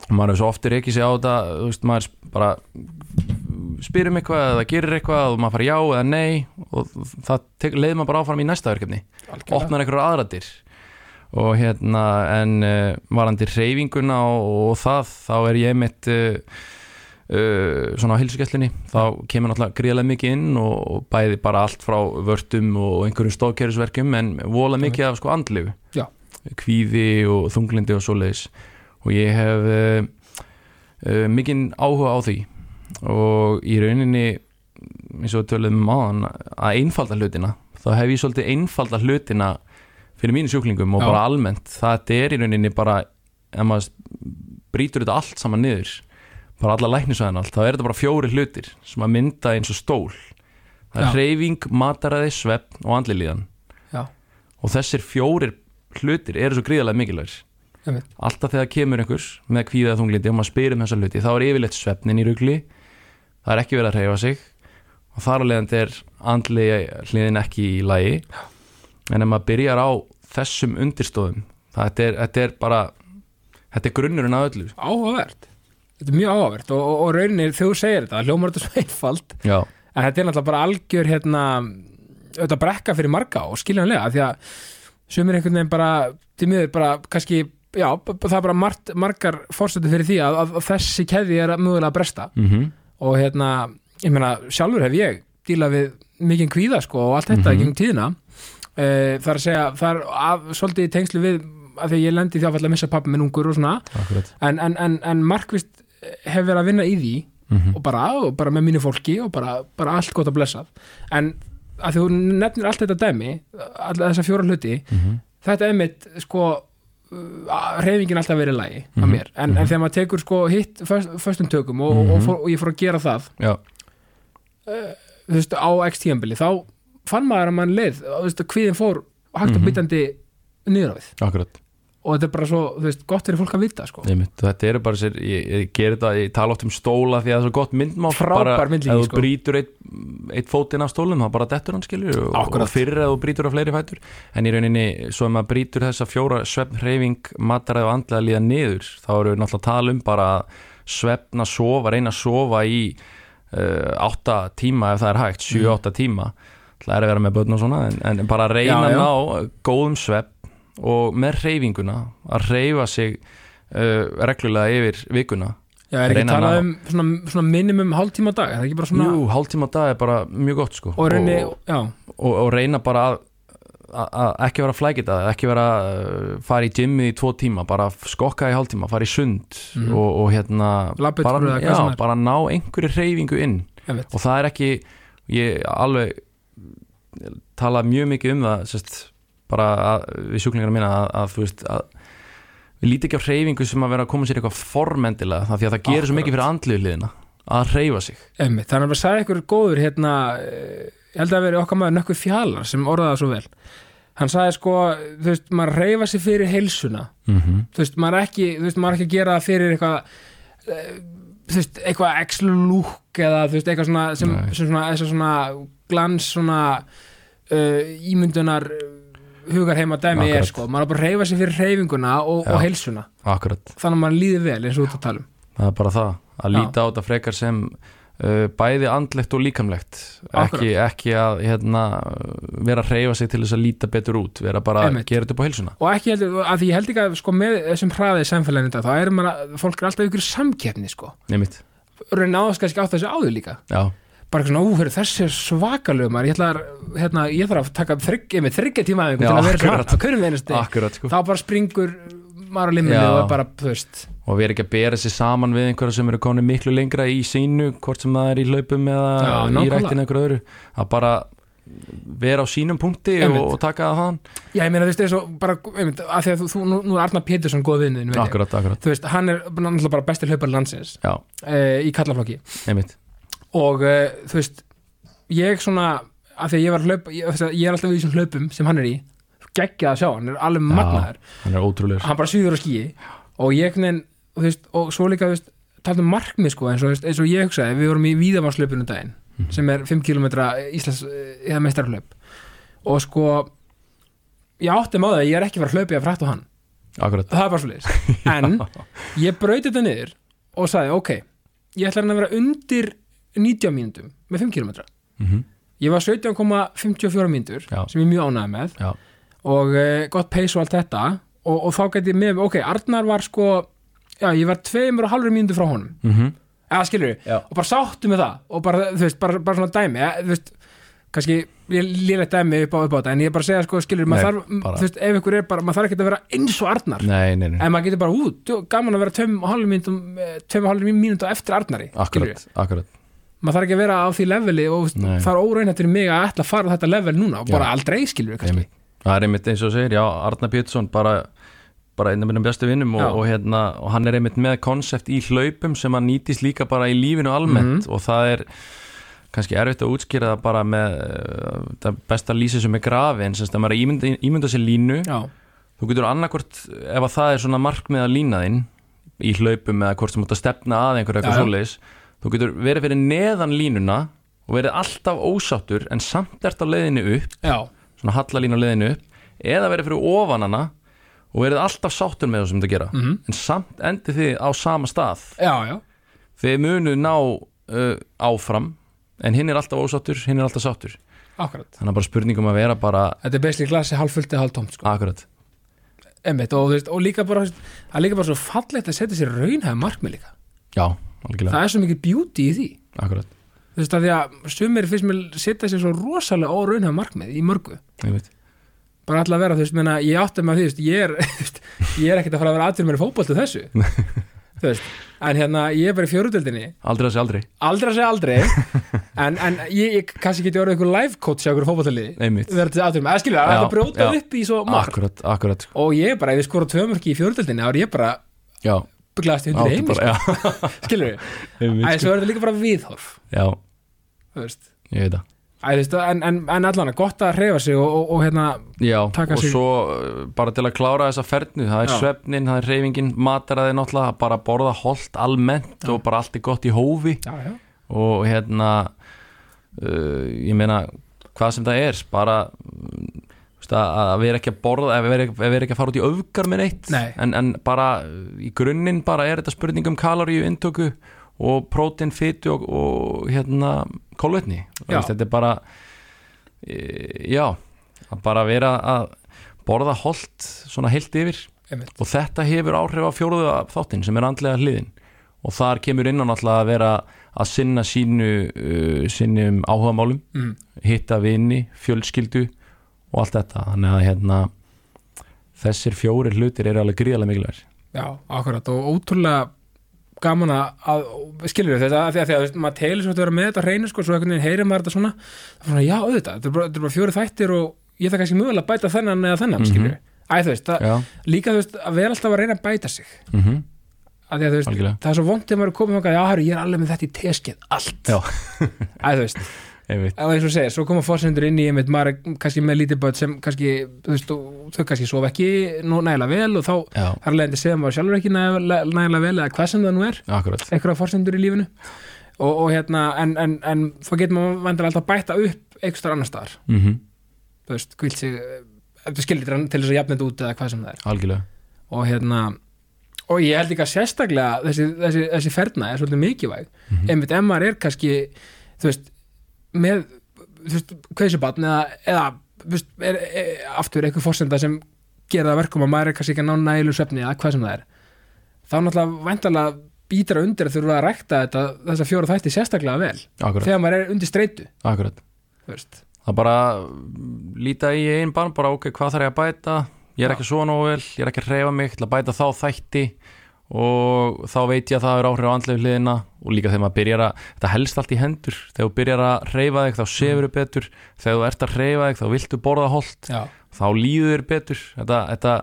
og maður er svo oftir ekki sig á þetta þú veist, maður sp- bara spyr um eitthvað eða gerir eitthvað og maður fara já eða nei og það tek- leiðir maður bara áfram í næsta verkefni algjörlega. opnar einhverjar aðratir og hérna en uh, varandi reyfinguna og, og það þá er ég mitt uh, uh, svona á hilsugesslunni þá kemur náttúrulega gríðlega mikið inn og, og bæði bara allt frá vörtum og einhverjum stóðkerfisverkjum en vola mikið af sko andlegu Já. kvíði og þunglindi og svoleiðis og ég hef uh, uh, mikinn áhuga á því og í rauninni eins og við töluðum um áðan að einfalda hlutina þá hef ég svolítið einfalda hlutina fyrir mínu sjúklingum og Já. bara almennt það er í rauninni bara ef maður brýtur þetta allt saman niður bara alla læknisvæðan allt þá er þetta bara fjóri hlutir sem að mynda eins og stól það Já. er hreyfing, mataræði, svepp og andlilíðan Já. og þessir fjórir hlutir eru svo gríðarlega mikilvægir Einmitt. alltaf þegar kemur einhvers með kvíðað þunglindi og maður spyrir um þessa hluti þá er yfirleitt svefnin í rugli það er ekki verið að hreyfa sig og þar að leiðandi er andlega hliðin ekki í lagi en ef maður byrjar á þessum undirstofum þetta er, þetta er bara þetta er grunnurinn að öllu áhugavert þetta er mjög áhugavert og, og, og rauninni þegar þú segir þetta, hljómar þetta svo einfalt já, en þetta er náttúrulega bara algjör hérna, auðvitað brekka fyrir marga og skiljanlega af því að sumir einhvern veginn bara til miður bara kannski já, b- b- það er bara margt, margar fórstötu fyrir því að, að, að þessi keði er að mögulega að bresta mm -hmm. og hérna, ég meina sjálfur hef ég dílað við mikinn kvíða sko og allt þetta mm Mhm. gegn tíðina e, það er að segja, það er af, svolítið í tengslu við að því að ég lendi í því að falla að missa pappi minn ungur og svona akkurat en, en, en, en markvist hef verið að vinna í því Mhm. og bara, og bara með mínu fólki og bara, bara allt gott að blessað en að þú nefnir allt þetta dæmi alla þessa fjóra hluti þetta er mitt sko reyfingin alltaf verið í lagi mm Mhm. mér, en, en þegar maður tekur sko hitt föst, föstum tökum og, Mhm. og, fór, og ég fór að gera það já, þú veist, á x tíðanbili þá fann maður að mann leið þú veist, að kviðin fór hægt og Mhm. bytandi niður á við akkurat og þetta er bara svo, þú veist, gott fyrir fólk að vita sko. Einmitt, þetta eru bara sér, ég, ég ger þetta ég tala oft um stóla því að það er svo gott myndmál Frábær bara, myndlíking, ef þú sko. brýtur eitt, eitt fótinn af stólum þá bara dettur hann skilur og, Akkurat. og fyrir að þú brýtur á fleiri fætur en í rauninni, svo ef maður brýtur þessa fjóra svefn, hreyfing, mataræði og andlega líða niður, þá eru við náttúrulega að tala um bara að svefna, sofa, reyna að sofa í uh, 8 tíma ef það er hægt, Mhm. 7-8 tíma það er að vera með börn og svona en, en bara að Já, já. reyna að ná góðum svepp og með reyfinguna að reyfa sig uh, reglulega yfir vikuna Já, er ekki Reyna að talað ná. um svona, svona minimum hálftíma á dag, er það ekki bara svona Jú, hálftíma á dag er bara mjög gott sko og reyni, og, já, og, og reyna bara að að- að ekki vera að flækita það, ekki vera að uh, fara í gymmið í tvo tíma, bara skokka í hálftíma, fara í sund Mhm. og, og hérna Labba bara, túr eða hvað já, sem er. bara ná einhverju reyfingu inn ég veit og það er ekki ég alveg tala mjög mikið um það sest, bara að, við sjúklingar mína að, að þú veist að við líti ekki á hreyfingu sem að vera að koma sér eitthvað formendilega það því að það gerir svo mikið fyrir andlu hliðina að hreyfa sig Einmitt, þannig að bara sagði ykkur góður hérna, eh, ég held að veri okkar maður nökkur fjalar sem orðaði það svo vel hann sagði sko, þú veist, maður reyfa sig fyrir heilsuna, mm -hmm. þú veist, maður er ekki þú veist, maður er ekki að gera það fyrir eitthvað eh, þú veist, eitthvað exlu lúk eða þú veist, eitthvað svona sem, Nei. sem svona, þessar svona glans svona uh, ímyndunar hugar heima dæmi er Akkurat. sko, maður er bara að reyfa sig fyrir reyfinguna og, Já. og heilsuna akkurat þannig að maður líði vel eins og út að tala um það er bara það að Já. líta á þetta frekar sem uh, bæði andlegt og líkamlegt ekki, ekki að hérna, uh, vera að reyfa sig til þess að líta betur út vera bara að Einmitt. gera þetta upp á heilsuna og ekki heldur, að því ég held ekki að sko, með þessum hraðið samfélaginu þetta, þá er maður, fólk er alltaf ykkur samkeppni sko, neymitt, reyna áðast kannski átt þessu áður líka já, bara eitthvað svona, óhverju, þessi er svakalög maður, ég ætla að, hérna, ég þarf að taka þrygg, með þryggja tíma eða Já, einhvern að vera svona akkurat. á hverjum einast dag, akkurat sko þá bara springur maður á limminu Já. og er bara, þú veist og vera ekki að bera sig saman við einhverja sem eru konu miklu lengra í sínu hvort sem það er í hlaupum eða Já, í nákvæmlega. rættinu einhverju öðru að bara vera á sínum punkti og, Einmitt. og taka það hann já, ég meina, þú veist, eins og bara, einmitt, að því að þú, þú nú, nú er Arnar Pétursson góð viðin, akkurat, akkurat, þú veist, hann er náttúrulega bara besti hlaupar landsins já, e, í kallaflokki neymitt og e, þú veist, ég svona að því að ég var hlaup, ég, þú veist, ég er alltaf í þessum hlaupum sem hann er í, geggjað að sjá hann er alveg magnaður hann er ótrúlegur, hann bara svíður á skíi og ég kninn, þú veist, og svo líka þú veist, talað um markmið sko, eins og, þú veist, eins og ég hugsaði við vorum í víðavarslöpunum daginn sem er 5 km Íslands eh, eða meistarhlaup og sko ég átti maður að ég er ekki verið að hlaupa ég að frætt á hann, akkurat það er bara svolítið en ég brauti þetta niður og sagði, ok, ég ætla hann að vera undir 90 mínútum með 5 km mm ég var 17,54 mínútur Já. sem ég er mjög ánægði með já, og uh, gott pace og allt þetta og, og þá gæti ég með, ok, Arnar var sko já, ég var tveimur og halvur mínútu frá honum mhm eða skilur við, Já. og bara sáttu með það og bara, þú veist, bara, bara svona dæmi eða, þú veist, kannski, ég lýra dæmi upp á, upp á þetta, en ég er bara að segja, sko, skilur Nei, maður þarf, m- bara- þú veist, ef ykkur er bara, maður þarf ekki að vera eins og Arnar Nei, nei, nei, en maður getur bara, ú, djú, gaman að vera tveim og halvur mínútu tveim og halvur mínútu eftir Arnari skilurðu. akkurat, akkurat maður þarf ekki að vera á því leveli og þú veist, Nei. það er óraunættur mig að ætla að fara á þetta level núna og Já. bara aldrei skilur við, kannski einmitt. Það er einmitt eins og þú segir, já, Arna Pétursson bara, bara einn af minnum bestu vinnum og, Já. og, hérna, og hann er einmitt með konsept í hlaupum sem hann nýtist líka bara í lífinu almennt Mhm. og það er kannski erfitt að útskýra það bara með uh, það besta lýsið sem er grafi en semst að maður er að ímynda, ímynda sér línu já, þú getur annarkvort ef að það er svona markmið að lína þinn í hlaupum eða hvort sem þú ert að stefna að einhverju Já, eitthvað já. svoleiðis þú getur verið fyrir neðan línuna og verið alltaf ósáttur en samt ert á leiðinu upp já, svona hallalínu á leiðinu upp eða verið fyrir ofan hana og verið alltaf sáttur með það sem þetta gera Mhm. en samt endi þið á sama stað já, já þið munu ná uh, áfram en hinn er alltaf ósáttur, hinn er alltaf sáttur Akkurat. þannig að bara spurningum að vera bara Þetta er basically glasi hálffullt eða hálftómt sko. akkurat, Einmitt, og, þú veist, og líka bara þú veist, það er líka bara svo fallegt að setja sér raunhæð markmið líka. já, algjörlega Það er svo mikið beauty í því. akkurat, Þú veist að því að sumir finnst mér setja sér svo rosalega óraunhæð markmið í mörgu. ég veit Bara alltaf að vera, þú veist, menna, ég átti með því, þú veist, ég er, þú veist, ég er ekkert að fara að vera aðtur mér í fótboltu þessu. þú veist, en hérna, ég er bara í fjörutöldinni, aldrei að segja aldrei, aldrei að segja aldrei, en, en ég, ég kannski geti orðið ykkur life coach á ykkur fótboltaliði. einmitt Verða til aðtur mér, að skilja, það er Já, hægt að brjóta já. Ah. upp í svo margt. akkurat, akkurat, sko. og ég bara, ef ég skora tvö mörki í fjörutöldinni þá er ég bara já, glæðast hundur áttu heimi bara, já, sko, skilur við, einmitt, en sko. svo er þetta líka bara viðhorf já, þú veist, ég veit það Æ, þú veist en, en, en allan að gott að hreyfa sig og, og, og hérna, Já, Taka og sig- svo uh, bara til að klára þessa fernu það er Já. svefnin, það er reyfingin, mataraði náttúrulega bara borða holt almennt og bara allt er gott í hófi já, já, og hérna uh, ég meina hvað sem það er bara mm, þú veist, að, að vera ekki að borða að vera ekki, að vera ekki að fara út í öfgar með neitt Nei. en, en bara uh, í grunninn bara er þetta spurning um kaloríu inntöku og prótein, fytu og, og hérna kólvetni Þú Já. veist, þetta er bara e, já, að bara vera að borða holt svona heilt yfir einmitt og þetta hefur áhrif á fjóruða þáttinn sem er andlega hliðin og þar kemur inn á náttúrulega að vera að sinna sínu uh, sínum áhugamálum mm. hitta vini, fjölskyldu og allt þetta þannig að hérna, þessir fjóri hlutir eru alveg gríðarlega mikilvægir já, akkurat og ótrúlega gaman að- að, skilur við þetta því að, því að þú veist, maður telur svo að vera með þetta reyna sko, svo einhvern veginn heyrir maður þetta svona, þá er svona já, auðvitað, þetta er bara, þetta er bara fjóri þættir og ég það kannski mögulega að bæta þennan eða þennan, Mhm. skilur við Æ, þú veist, að, Já, líka þú veist, að vera alltaf að reyna að bæta sig mm að því að þú veist, Algjörlega. það er svo vond þegar maður er komið þangað, já, herru, ég er alveg með þetta í teskið allt, Já. að þú veist einmitt og eins og segja, svo koma fórsendur inn í einmitt maður er kannski með lítið börn sem kannski þú veist, og þau kannski sofa ekki nú nægilega vel og þá Já, þar leðandi segja maður sjálfur ekki nægilega, nægilega vel eða hvað sem það nú er, akkurat einhverja fórsendur í lífinu og, og hérna, en, en, en þá getur maður vandilega alltaf að bæta upp einhvers staðar annars staðar, mm þú veist, kvilt sig eh, ef þú skilir til þess að jafna þetta út eða hvað sem það er Algjörlega og hérna og ég held ekki að sérstaklega þessi, þessi, þessi ferna er svolítið mikilvæg einmitt ef maður er kannski þú veist, með þú veist, kveisubatn eða, eða þú veist, er, er, aftur eitthvað fórsenda sem gera það að verkum að maður er kannski ekki að ná nælu svefni eða hvað sem það er þá náttúrulega væntalega býtra undir að þurfa að rækta þetta þessa fjóra þætti sérstaklega vel akkurat, þegar maður er undir streitu akkurat þú veist. það er bara mm, líta í einn barn bara ok, hvað þarf ég að bæta ég er ekki svona óvel, ég er ekki að reyfa mig til að bæta þá þætti og þá veit ég að það er áhrif á andlegu hliðina og líka þegar maður byrjar að þetta helst allt í hendur, þegar þú byrjar að reyfa þig þá sefur betur, þegar þú ert að reyfa þig þá viltu borða holt, Já, þá líður þér betur þetta, þetta,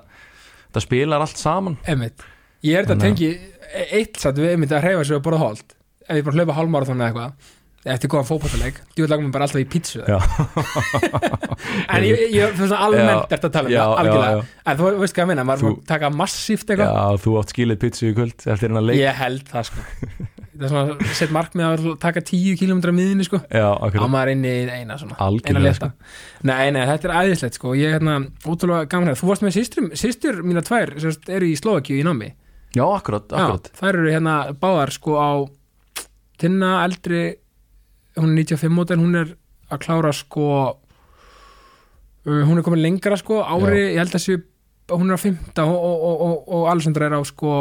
þetta spilar allt saman einmitt ég er þetta Þannig tengi e- eitt satt við einmitt að reyfa sig og borða holt ef ég er bara að hlaupa hálmarathon eða eitthvað eftir góðan fótballtaleg, djúið lagum mér bara alltaf í pítsu Já. en ég, ég þú veist, almennt er þetta að tala um Já, það, já, algjörlega, en þú veist hvað að minna maður Þú- þú... taka massíft Já, eitthvað þú átt skilið pizzu í kvöld eftir hennar leik ég held það sko það er svona, sett markmið að taka 10 km miðinni sko, Já, á akkurat maður er inni í eina svona eina Algjörlega sko. leta nei, nei, þetta er æðislegt sko ég er hérna útrúlega gaman hérna þú varst með systur, systur mína tvær sem sagt eru í Slovakíu í námi Já, akkurat, akkurat Já, þær eru hérna báðar sko á Tinna eldri hún er 95 mótel, hún er að klára sko uh, hún er komin lengra sko ári, ég held að sé hún er á 5 og, og, og, og, og Alessandra er á sko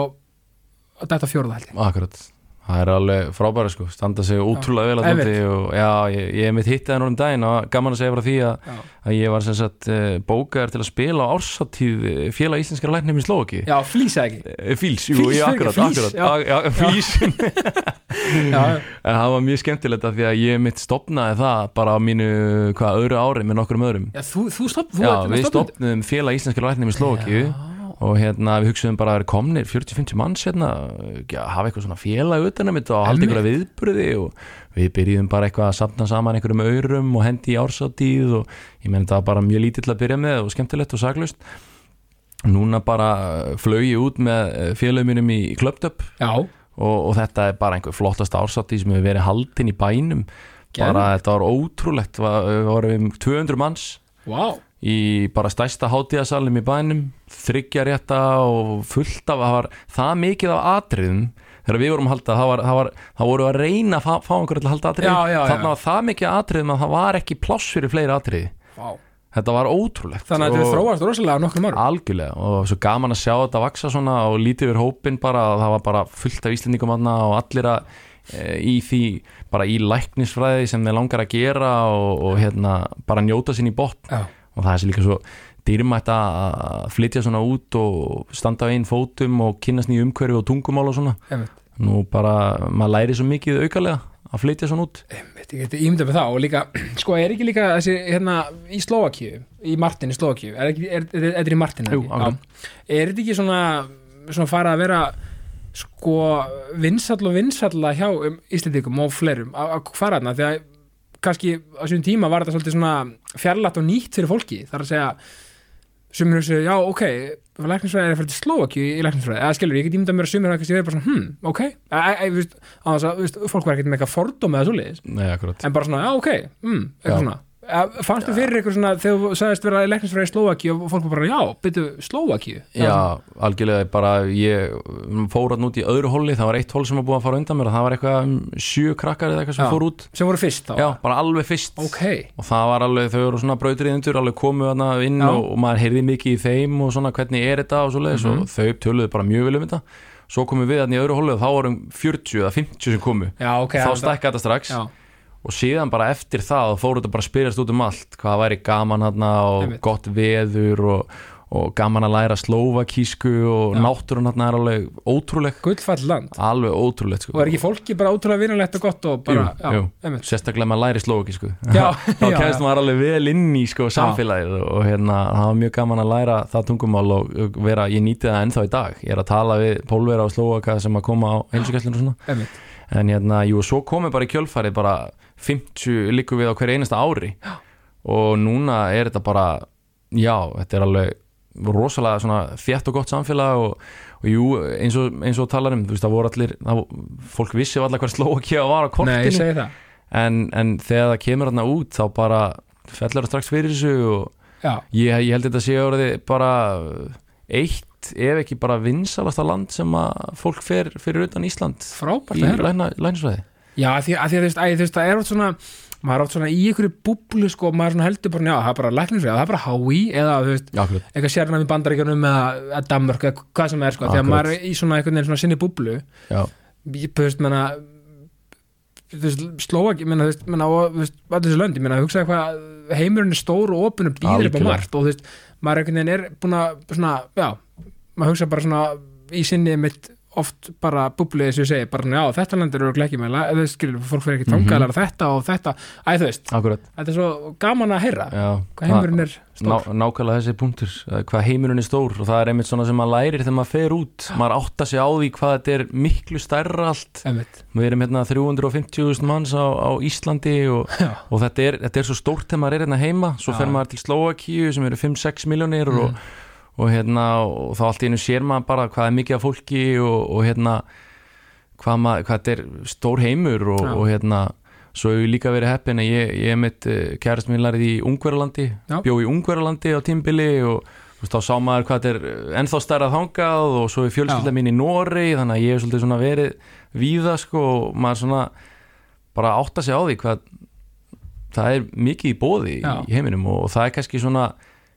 þetta fjórða held ég Akkurat, það er alveg frábæra sko standa sig útrúlega vel að einmitt. þótti og já, ég, ég mitt hitti það núna um daginn og gaman að segja frá því að, Já. að ég var sem sagt eh, bókaður til að spila á ársatíð félag íslenskara læknum í Slovaki Já, flýsa ekki Fíls, jú, Fíls, ég akkurat, fíls, akkurat Ah, já. já, já, Fíls, Já, en það var mjög skemmtilegt af því að ég mitt stopnaði það bara á mínu, hvað, öðru ári með nokkrum öðrum já þú, þú stopp, þú Já, ert hérna með við stofnendur. stopnum félag íslenskara læknum í Slovaki og hérna við hugsuðum bara að vera komnir 40-50 manns hérna, ja, hafa eitthvað svona félag utanum þetta og halda Einmitt. einhverja viðburði og við byrjuðum bara eitthvað að sapna saman einhverjum aurum og hendi í ársatíð og ég meina þetta var bara mjög lítill að byrja með og skemmtilegt og saklaust núna bara flög ég út með félagum mínum í klöptöp Já, og, og þetta er bara einhver flottast ársatíð sem hefur verið haldin í bænum bara þetta var ótrúlegt, Va- við vorum 200 manns wow í bara stæsta hátíðasalum í bænum þryggjarétta og fullt af það var það mikið af atriðum þegar við vorum að halda, það, var, það, var, það voru að reyna að fá, fá einhverju til að halda atriði Já, já, já. þannig að það mikið af atriðum að það var ekki pláss fyrir fleiri atriði Vá. þetta var ótrúlegt Þannig að Og- þetta þróast rosalega á nokkrum árum algjörlega og svo gaman að sjá þetta vaksa svona og lítið yfir hópin bara það var bara fullt af íslendingum aðna og allir að e, í því bara í læknisfræði sem þeir langar að gera og, og hérna bara njóta sín í botn Já. og það er sér líka svo dýrmætt að að flytja svona út og standa á einn fótum og kynast nýju umhverfi og tungumál og svona Einmitt. nú bara, maður læri svo mikið aukalega að flytja svona út Einmitt, Ég geti ímyndað með það og líka, sko er ekki líka þessi, hérna, í Slovakíu í Martin í Slovakíu, er ekki, er, er, er, er í Martin Jú, akkurat. er þetta ekki svona svona fara að vera sko vinsall og vinsalla hjá um, Íslandikum og fleirum að að fara þarna, því að kannski á svona tíma var þetta svolítið svona fjarlætt og nýtt fyrir fólki, þar að segja sumir þessu, já, ok læknisfræði er að fara til Slovakíu í læknisfræði eða skilur, ég get ímyndað mér að sumir hafa kannski verið bara svona hm, ok, Æ, æ, æ, þú veist, á þess að, þú veist, fólk var ekkert með eitthvað fordóma eða svoleiðis Nei, akkurat en bara svona, já ok, mm, Já. eitthvað svona Eh, fannstu fyrir ykkur svona þegar þú sagðist vera læknisfræði í Slovakíu og fólk var bara, já, byrju Slovakíu Já, algjörlega bara ég fór hann út í öðru hóli, það var eitt hól sem var búið að fara undan mér og það var eitthvað um sjö krakkar eða eitthvað sem Já. fór út sem voru fyrst þá Já, bara alveg fyrst ok, og það var alveg, þau eru svona brauturiðendur alveg komu hann inn Já. og, og maður heyrði mikið í þeim og svona hvernig er þetta og svoleiðis Mhm. og þau töluðu bara mjög vel um þetta Svo komum við hann í öðru hóli og þá vorum 40 eða 50 sem komu já ok Þá það- stækka þetta strax já, og síðan bara eftir það fór þetta bara að spyrjast út um allt hvað væri gaman hann og Einmitt. gott veður og, og gaman að læra slóvakísku og náttúrun hann er alveg ótrúleg gullfall land alveg ótrúlegt og sko. er ekki fólki bara ótrúlega vinulegt og gott og bara, Jú, já, jú. einmitt sérstaklega maður læri slóvakísku já, þá kemst maður alveg vel inn í sko, samfélagið og hérna, það var mjög gaman að læra það tungumál og og vera, ég nýti það ennþá í dag ég er að tala við pólvera og slóvaka sem að koma á heilsugæslinu og svona einmitt, en hérna, jú, svo komum bara í kjölfarið bara 50 líku við á hverju einasta ári og núna er þetta bara já, þetta er alveg rosalega svona þjætt og gott samfélag og, og jú, eins og, eins og talar um þú veist, það voru allir, það, fólk vissi allar hver Slóakía nei, var á ég kortinu segi það en, en þegar það kemur hann út þá bara fellur það strax fyrir þessu og já, ég, ég held þetta sé orðið bara eitt eitt ef ekki bara vinsalasta land sem að fólk fer fyrir utan Ísland frábært í að herra læna, lænsfræði Já, af því að því að þú veist, æ, þú veist, það er oft svona maður er oft svona í einhverju búblu sko, og maður svona heldur bara, já, það er bara læknisfræði það er bara HÍ eða, þú veist, Já, akkurat eitthvað sérnæmi bandaríkjunum eða, eða Danmörk eða hvað sem er sko, þegar Akkurat. maður er í svona einhvern veginn svona sinni búblu Já, ég, þú veist, menna þú veist, Slovaki, menna, þú veist, menna og, þú veist, allir þessi löndi, menna, hugsaði hvað heimurinn er stór og opinn og býður upp á Algjörlega. margt og þú veist, maður einhvern veginn er búin að svona, já, maður hugsa bara svona í sinni mitt oft bara búblu eins og ég segi, bara, svona, já, þetta land er örugglega ekki með, la- þú veist, skilur, fólk fyrir ekki Mhm. þangalar mm þetta og þetta, æ, þú veist akkurat þetta er svo gaman að heyra Já, hvað heimurinn er Ná, stór nákvæmlega þessi punktur, eh, hvað heimurinn er stór og það er einmitt svona sem maður lærir þegar maður fer út maður átta sig á því hvað þetta er miklu stærra allt, Einmitt. við erum hérna 350.000 manns á, á Íslandi og, Já. og þetta, er, þetta er svo stórt þegar maður er hérna heima, svo Já. fer maður til Slovakíu sem eru 5-6 miljónir og, og, hérna, og þá allt í einu sér maður bara hvað er mikið af fólki og, og hérna hvað, maður, hvað þetta er stór heimur og, Já. og hérna svo hefur ég líka verið heppin að ég, ég er mitt eh, kærast mín lærið í Ungverjalandi Já. bjó í Ungverjalandi á tímbili og þú veist, þá sá maður hvað þetta er eh, ennþá stærra þangað og svo er Já. fjölskylda mín í Noregi þannig að ég er svolítið svona verið víða sko og maður svona bara átta sig á því hvað það er mikið í bóði Já. í heiminum og, og það er kannski svona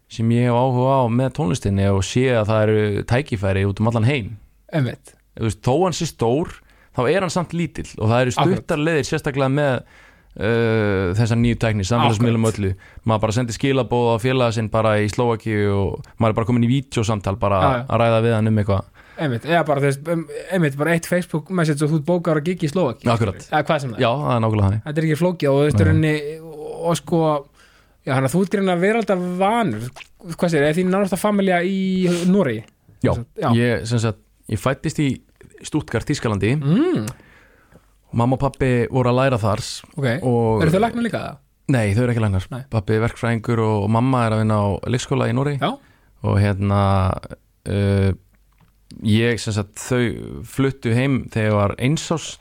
sem ég hef áhuga á með tónlistinni og sé að það eru tækifæri út um allan heim Einmitt. þú veist, þó hann sé stór þá er hann samt lítill og það eru stuttar leðir sérstaklega með uh, þessar nýju tækni, samfélagsmiðlum og öllu maður bara sendir skilabóð á félaga sinn bara í Slovaki og maður er bara komin í vídeosamtal bara Já, já. að ræða við hann um eitthvað Einmitt, eða bara, þú veist, um, einmitt, bara eitt Facebook message og þú bókar að gigi í Slovaki Akkurat. eða hvað sem það, já, það er nákvæmlega þannig þetta er ekki flókið og þú veist, Nei. rauninni, og, og sko já, hann að þú ert reyna að vera alltaf vanur hvað sér, er þín nánasta familja í Nóri? já, Já. ég, sem sagt, ég fættist í Stuttgart, Tískalandi Mm, mamma og pappi voru að læra þar ok, og Eh, eru þau læknar líka það? nei, þau eru ekki læknar, Nei. pappi er verkfræðingur og og mamma er að vinna á leikskóla í Nóri Já, og hérna uh, ég sem sagt þau fluttu heim þegar ég var einsás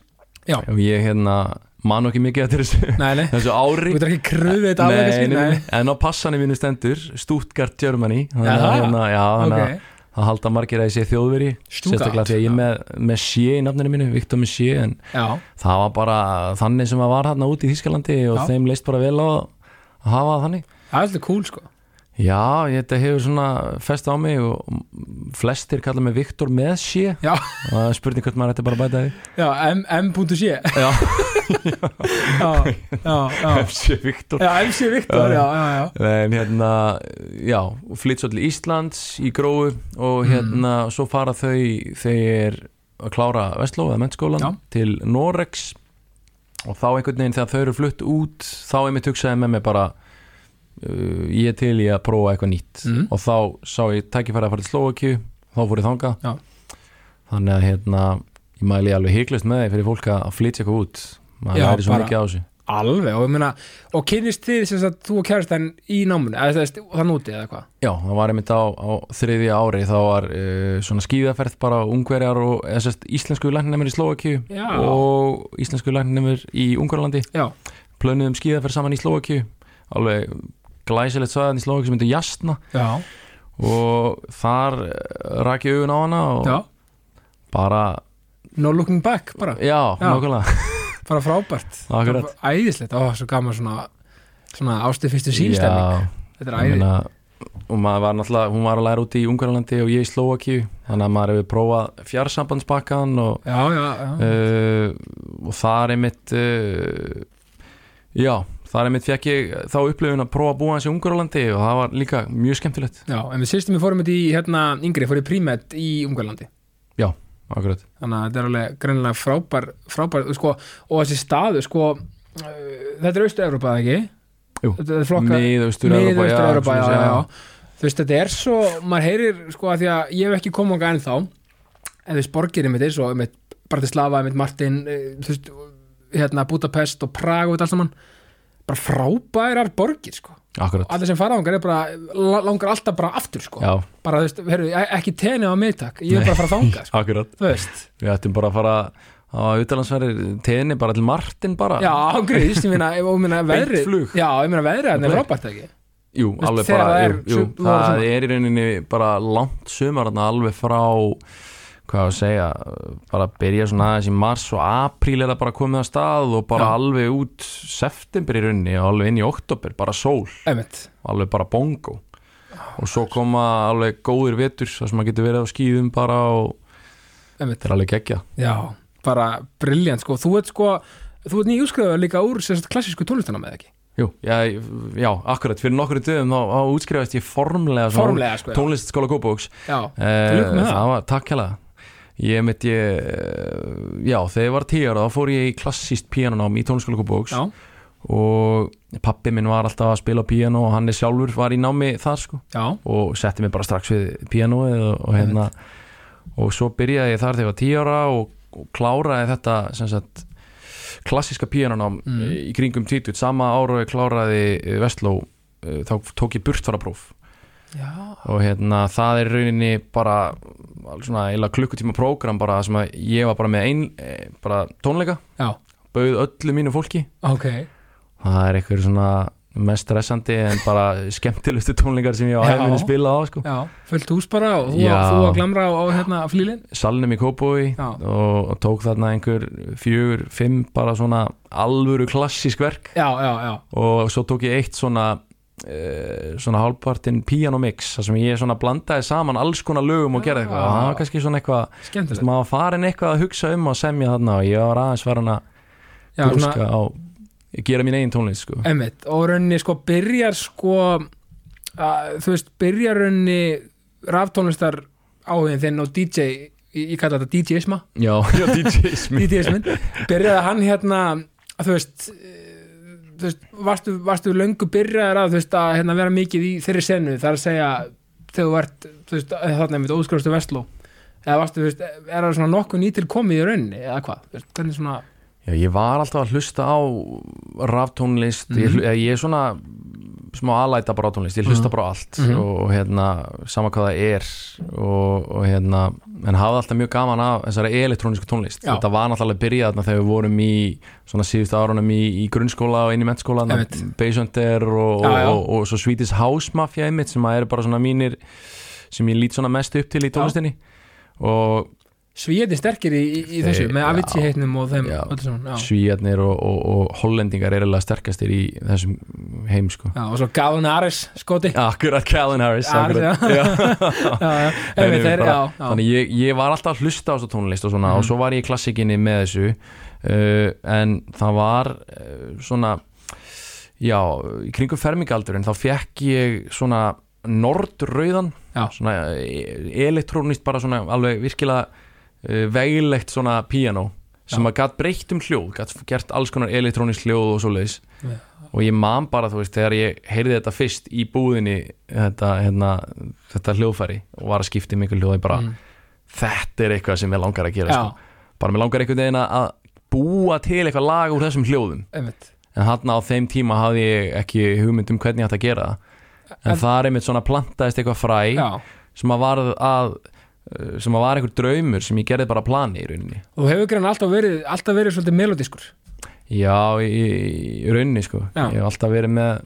já, og ég hérna man nú ekki mikið eftir þessu, nei, nei þessu þú ári ert ekki kröfið þetta af Nei, þetta nei, nei. en á passanum mínu stendur Stuttgart, Germany þannig að Jaha. hérna, já, þannig að ok, það halda margir að ég sé þjóðveri Stuttgart, sérstaklega því að ég er já. með, með sé í nafninu mínu, Viktor með sé en já, það var bara þannig sem að var hérna út í Þískalandi og Já. þeim leist bara vel á að hafa það þannig það er alltaf cool sko Já, ég- þetta hefur svona fest á mig og flestir kalla mig Viktor með sé Já. og það er spurning hvort maður ætti bara að bæta því já, m- m.c já, Já, já, já FC Viktor já, MC Viktor, já, já, já En hérna, já, flytt svo til Íslands í gróu Mm. og hérna, svo fara þau þegar að klára Vestló eða Já. mennskólan til Norex og þá einhvern veginn þegar þau eru flutt út þá einmitt hugsaði með mig bara uh, ég er til í að prófa eitthvað nýtt Mhm. og þá sá ég tækifæri að fara til Slovakju þá fór ég þanga Já. þannig að hérna, ég mæli alveg hygglust með því fyrir fólk að flytja eitthvað út maður Já, læri svo bara- mikið á þessu Alveg, og ég meina, og kynnist þið sem sagt þú og kærastan í náminu, eða þess að þann úti eða hvað? Já, það var einmitt á, á þriðja ári þá var uh, svona skíðaferð bara ungverjar og eða sérst, íslensku lækninemir í Slovakíu Já. og íslensku lækninemir í Ungverjalandi Já, plönuðum skíðaferð saman í Slovakíu alveg glæsilegt svæðan í Slovakíu sem heitir Jasna já, og þar eh, rak ég augun á hana og já bara, No looking back bara, já, Já. nákvæmlega bara frábært Akkurat. Bara Æðislegt, ó, svo gaman svona svona ástið fyrstu sínstemning Já, Þetta er ég æði, meina, og maður var náttúrulega, hún var að læra úti í Ungverjalandi og ég í Slovakíu þannig að maður hefur prófað fjársambandsbakkan og já, já, já uh, og þar einmitt uh, já, þar einmitt fekk ég þá upplifun að prófa að búa hans í Ungarlandi og það var líka mjög skemmtilegt Já, en við sýstum við fórum þetta í, hérna, yngri fórum í prímet í Ungarlandi akkurat, þannig að þetta er alveg greinilega frábær, frábær sko, og þessi staðu, sko uh, þetta er austu-Európa, eða ekki? Jú. Þetta er flokka miðaustur Evrópa Miðaustur-Európa, já, svona já, segja. já. Þú veist, þetta er svo, maður heyrir sko að því að ég hef ekki komið okkar ennþá en þú veist, borgir einmitt eins og einmitt Bratislava, einmitt Martin eh, þú veist, hérna Budapest og Prag og þetta allt saman, bara frábærar borgir, sko. Og akkurat, allir sem fara okkar er bara, la- langar alltaf bara aftur, sko. já, Bara, þú veist, heyrðu, e- ekki tenið á miðtak, ég er bara að fara að þanga, sko. akkurat Þú veist, við ættum bara að fara á utalansverðir teginni bara til Martin bara já, ángriðist, ég meina, og ég meina Beint veðrið, flug. já, ég meina veðrið, þetta er Flug. frábært ekki. Jú, veist, alveg þegar bara, það er jú, jú, sum- voru það sumar. er í rauninni bara langt sumar þarna alveg frá hvað á að segja, bara byrja svona aðeins í mars og apríl er það bara komið að stað og bara Já. alveg út september í rauninni og alveg inn í oktober, bara sól, Einmitt. alveg bara bongo og svo koma alveg góðir vetur þar sem maður getur verið á skýðum bara og Einmitt. þetta er alveg geggja Já, bara briljant sko. Þú ert sko, þú ert nýjúskrifaður líka úr sérst klassísku tónlistana með ekki Jú, já, já, akkurat, fyrir nokkru dögum þá, þá útskrifast ég formlega, svona úr Formlega, sko, já. tónlistskóla Kópavóks Já, Eh, Til lukku með það. það var, takk hella Ég mitt ég eh, Já, þegar ég var tíu ára þá fór ég í klassíst píanonám í tónskóla kópbóks já, og pappi minn var alltaf að spila á píano og hann er sjálfur var í námi þar sko já, og setti mig bara strax við píanoið og, og hérna og svo byrjaði ég þar þegar ég var tíu ára og, og kláraði þetta sem sagt klassíska píanonám Mhm. í kringum títut sama ára og ég kláraði Vestló eh, þá tók ég burtfarapróf já og hérna það er í rauninni bara alveg svona eila klukkutíma prógram bara sem að ég var bara með ein, eh, bara tónleika, Já, bauð öllu mínu fólki ok það er eitthvað svona mest stressandi en bara skemmtilustu tónleikar sem ég á Já. hefðinni spila á sko. Já, fullt hús bara og þú, Já. þú að glamra á, á hérna flílin salnum í Kópói Já. og, og tók þarna einhver fjögur, fimm bara svona alvöru klassísk verk Já, já, já, og svo tók ég eitt svona eh, svona hálfpartinn piano mix þar sem ég svona blandaði saman alls konar lögum og gerði eitthvað og það var kannski svona eitthvað Þú veist, skemmtilegt maður var farin eitthvað að hugsa um að semja þarna og ég var aðeins farin að Já, grúska á gera mín eigin tónlist sko. Einmitt, og rauninni sko byrjar sko að, þú veist, byrjar rauninni raftónlistar áhugin þinn og DJ, ég ég kalla þetta DJ-isma Já, já DJ-ismi DJ-ismin, byrjaði hann hérna að, þú veist eh, þú veist, varstu, varstu löngu byrjaðar að þú veist að hérna vera mikið í þeirri senu þar að segja þegar þú ert þú veist, eh, þarna einmitt óskrástu vestló eða varstu, þú veist, er það svona nokkuð nýtil komið í rauninni eða hvað, þú veist, hvernig svona Já, ég var alltaf að hlusta á raftónlist mm. Mhm. ég, hlu- eh, ég er svona smá alæta bara á tónlist, ég hlusta bara á allt Mhm. og hérna, sama hvað það er og, og hérna en hafði alltaf mjög gaman af þessari elektrónísku tónlist Já. þetta var náttúrulega byrjað þarna þegar við vorum í svona síðustu árunum í, í grunnskóla og inn í mentskóla, Einmitt. Beisöndir og, Já, já. og, og, og svo Swedish House Mafia einmitt sem að eru bara svona mínir sem ég lít svona mest upp til í tónlistinni og svíðin sterkir í, í, í þessu Þeir- með já. Avicii heitnum og þeim Já. öllu saman, já. svíjarnir og, og, og hollendingar er eiginlega sterkastir í þessum heim sko. Já, og svo Gavin Aris skoti Akkurat Calvin Harris Aris, já, akkurat. já, já, En einmitt, ég þeir, bara- já, Mhm. já. Þannig ég, ég var alltaf að hlusta á þessu tónlist og svona og svo var ég í klassikinni með þessu uh, en það var uh, svona já, í kringum fermingaldurinn þá fekk ég svona nordrauðan Já. svona eh, elektrónist bara svona alveg virkilega uh, veglegt svona piano sem Já. að gætt breytt um hljóð gætt gert alls konar elektrónist hljóð og svo leiðis Já. og ég man bara þú veist þegar ég heyrði þetta fyrst í búðinni þetta, hérna, þetta hljóðfæri og var að skipta í mikil hljóði bara Mm. þetta er eitthvað sem ég langar að gera já, sko. bara mér langar einhvern veginn að- að búa til eitthvað lag úr þessum hljóðum einmitt en hann á þeim tíma hafði ég ekki hugmynd um hvernig ég ætti að gera það en, En- það er einmitt svona plantaðist eitthvað fræ já. sem að var að uh, sem að var einhver draumur sem ég gerði bara að plani í rauninni og þú hefur grein alltaf verið, alltaf verið svolítið melodískur já, í, í rauninni sko Já. ég hef alltaf verið með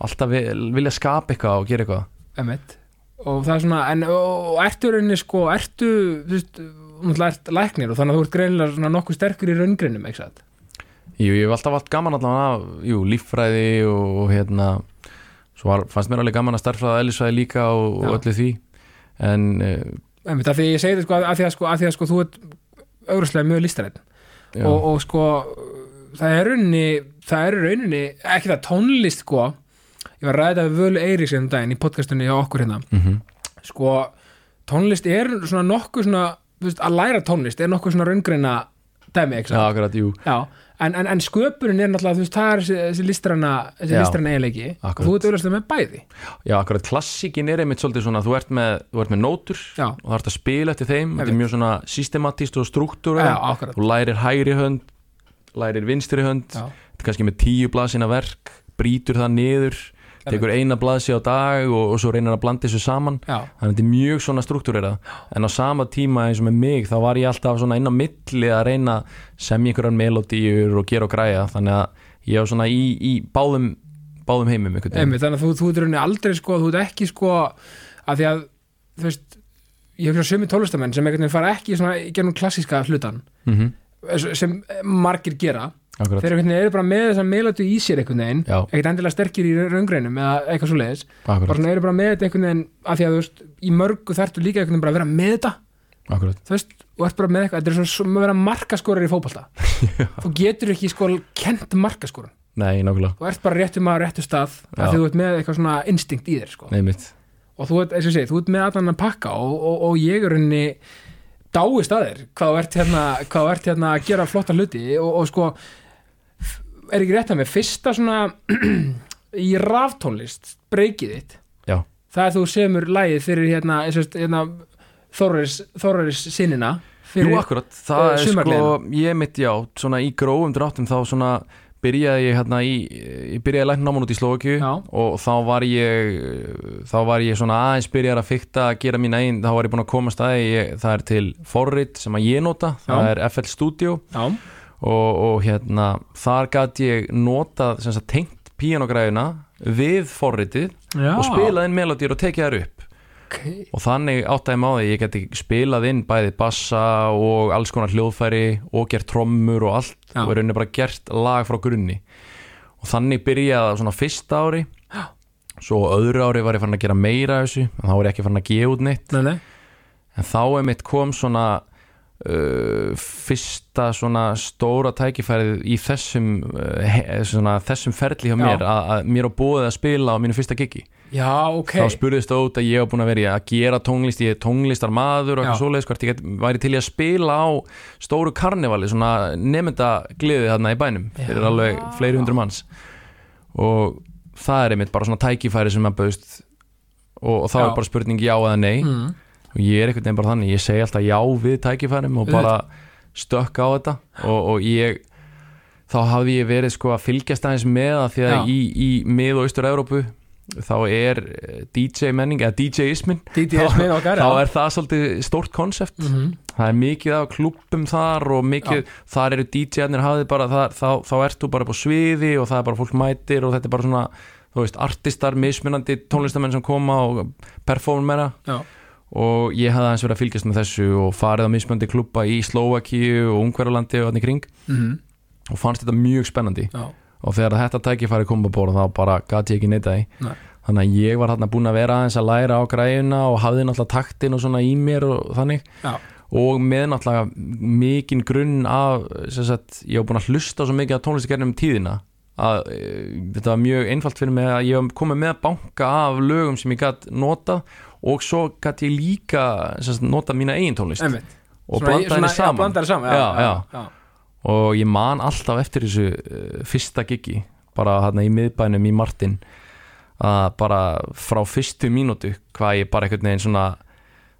alltaf vil- vilja skapa eitthvað og gera eitthvað Emmett og það er svona, en og, og ertu í rauninni sko, ertu þú veist, náttúrulega ert læknir og þannig að þú ert greinilega svona nokkuð sterkur í raungreinum, ekki satt? Jú, ég hef alltaf allt gaman allavega af, jú, líffræði og, og hérna svo var, fannst mér alveg gaman að starfraða eðlisfræði líka og, og Já. öllu því en uh, Emmett, af því að ég segi þetta sko, af því að sko, af því að sko þú ert augurslega mjög listarætt já, og, og sko það er rauninni, það er rauninni ekki það tónlist sko ég var að ræða við Völu Eiríks einn daginn í podcastunni hjá okkur hérna Mhm. sko tónlist er svona nokkuð svona þú veist, að læra tónlist er nokkuð svona raungreina dæmi, ekki já, satt? akkurat, jú Já, en, en, en sköpunin er náttúrulega, þú veist, það er þessi, þessi listræna, þessi Já. listræna eiginleiki og Akkurat. þú ert auðvitað með bæði. já, akkurat, klassikin er einmitt svolítið svona þú ert með, þú ert með nótur Já, og það ert að spila eftir þeim, þetta er Einmitt. mjög svona systematíst og struktúr já, akkurat. þú lærir hægri hönd lærir vinstri hönd Já, þetta er kannski með tíu blaðsina verk brýtur það niður, tekur eina blaðsi á dag og, og svo reynir að blanda þessu saman já, þannig að þetta er mjög svona struktúrerað en á sama tíma eins og með mig þá var ég alltaf svona inn á milli að reyna að semja einhverjar melodíur og gera og græja þannig að ég var svona í, í báðum báðum heimum einhvern veginn. Einmitt, þannig að þú, þú ert í rauninni aldrei sko, þú ert ekki sko að því að, þú veist ég hef svo sömu tólestamenn sem einhvern veginn fara ekki svona í gegnum klassíska hlutan Mhm. sem margir gera Akkurat. þeir einhvern veginn eru bara með þess að meðlætu í sér einhvern veginn, Já. ekkert endilega sterkir í raungreinum eða eitthvað svo leiðis, bara Akkurat, svona eru bara með þetta einhvern veginn, af því að þú veist, í mörgu þartu líka einhvern veginn bara að vera með þetta akkurat þú veist, og ert bara með eitthvað, þetta er svona sem að vera markaskorur í fótbolta þú getur ekki sko kent markaskorun Nei, nákvæmlega þú ert bara réttu maður á réttu stað Já. af því þú ert með eitthvað svona instinkt í þér sko. Nei mitt og þú ert, eins og ég segi, þú ert með allan að pakka og, og, og ég er henni dáist að þér, hvað þú ert hérna hvað þú ert hérna að gera flotta hluti og, og sko, f- er ekki rétt að mér fyrsta svona í raftónlist, breykið þitt Já, það er þú semur lægið fyrir hérna, eins og veist, hérna Þóraris, Þóraris sinina fyrir, jú akkurat Það eh, er sko, sumargleðina. ég mitt já Svona í grófum dráttum þá svona Byrjaði ég hérna í Ég byrjaði læknanáman út í Slovakju Já. Og þá var ég Þá var ég svona aðeins byrjar að fykta Að gera mín einn, þá var ég búin að komast að því ég, Það er til forrit sem að ég nota Það Já. er FL Studio já, og, og hérna Þar gat ég notað sem sagt tengt píanogræðina Við forritið já, Og spilaði inn melodýr og tekið þær upp okay. og þannig áttæði maður að ég geti spilað inn bæði bassa og alls konar hljóðfæri og gert trommur og allt Já. og er rauninni bara gert lag frá grunni og þannig byrjaði það svona fyrsta ári Já. svo öðru ári var ég farin að gera meira af þessu en þá var ég ekki farin að gefa út neitt nei, nei, en þá emitt kom svona uh, fyrsta svona stóra tækifærið í þessum, uh, he- svona, þessum ferli hjá Já. mér að, að mér var búið að spila á mínu fyrsta gigi já, ok þá spurðist það út að ég hef búin að vera í að gera tónlist, ég er tónlistar maður og eitthvað Já. svoleiðis hvort ég get, væri til í að spila á stóru karnevali, svona nefnda gliði þarna í bænum, Já. þeir eru alveg fleiri hundru manns og það er einmitt bara svona tækifæri sem maður bauðst og, og þá Já. er bara spurning já eða nei mm. og ég er einhvern veginn bara þannig, ég segi alltaf já við tækifærum og bara stökk á þetta og, og ég þá hafði ég verið sko að fylgjast aðeins með að því að Já. í, í mið og austur Evrópu þá er eh, DJ menning eða DJ-ismin, DDS minn okkar þá er það svolítið stórt konsept, mm -hmm. það er mikið af klubbum þar og mikið, þar eru DJ-arnir hafið bara, það, þá, þá ert þú bara upp á sviði og það er bara fólk mætir og þetta er bara svona, þú veist, artistar mismunandi tónlistamenn sem koma og performera já, og ég hafði aðeins verið að fylgjast með þessu og farið á mismöndi klubba í Slovakíu og Ungverjalandi og hann í kring mm og fannst þetta mjög spennandi já, og þegar þetta tækifæri kom að bóra þá bara gati ég ekki neitt að því Nei. þannig að ég var þarna búin að vera aðeins að læra á græjuna og hafði náttúrulega taktin og svona í mér og þannig já, og með náttúrulega mikinn grunn af sem sagt, ég var búin að hlusta svo mikið á tónlistikernum tíðina að e, þetta var mjög einfalt fyrir mig að ég var komið með banka af lögum sem ég gætt nota og svo gætt ég líka sem sagt, nota mína eigin tónlist einmitt og Svona- blanda henni svona- Já, saman blanda henni saman, já, Já, já. já. og ég man alltaf eftir þessu uh, fyrsta gigi bara hérna í miðbænum í Martin að bara frá fyrstu mínútu hvað ég bara einhvern veginn svona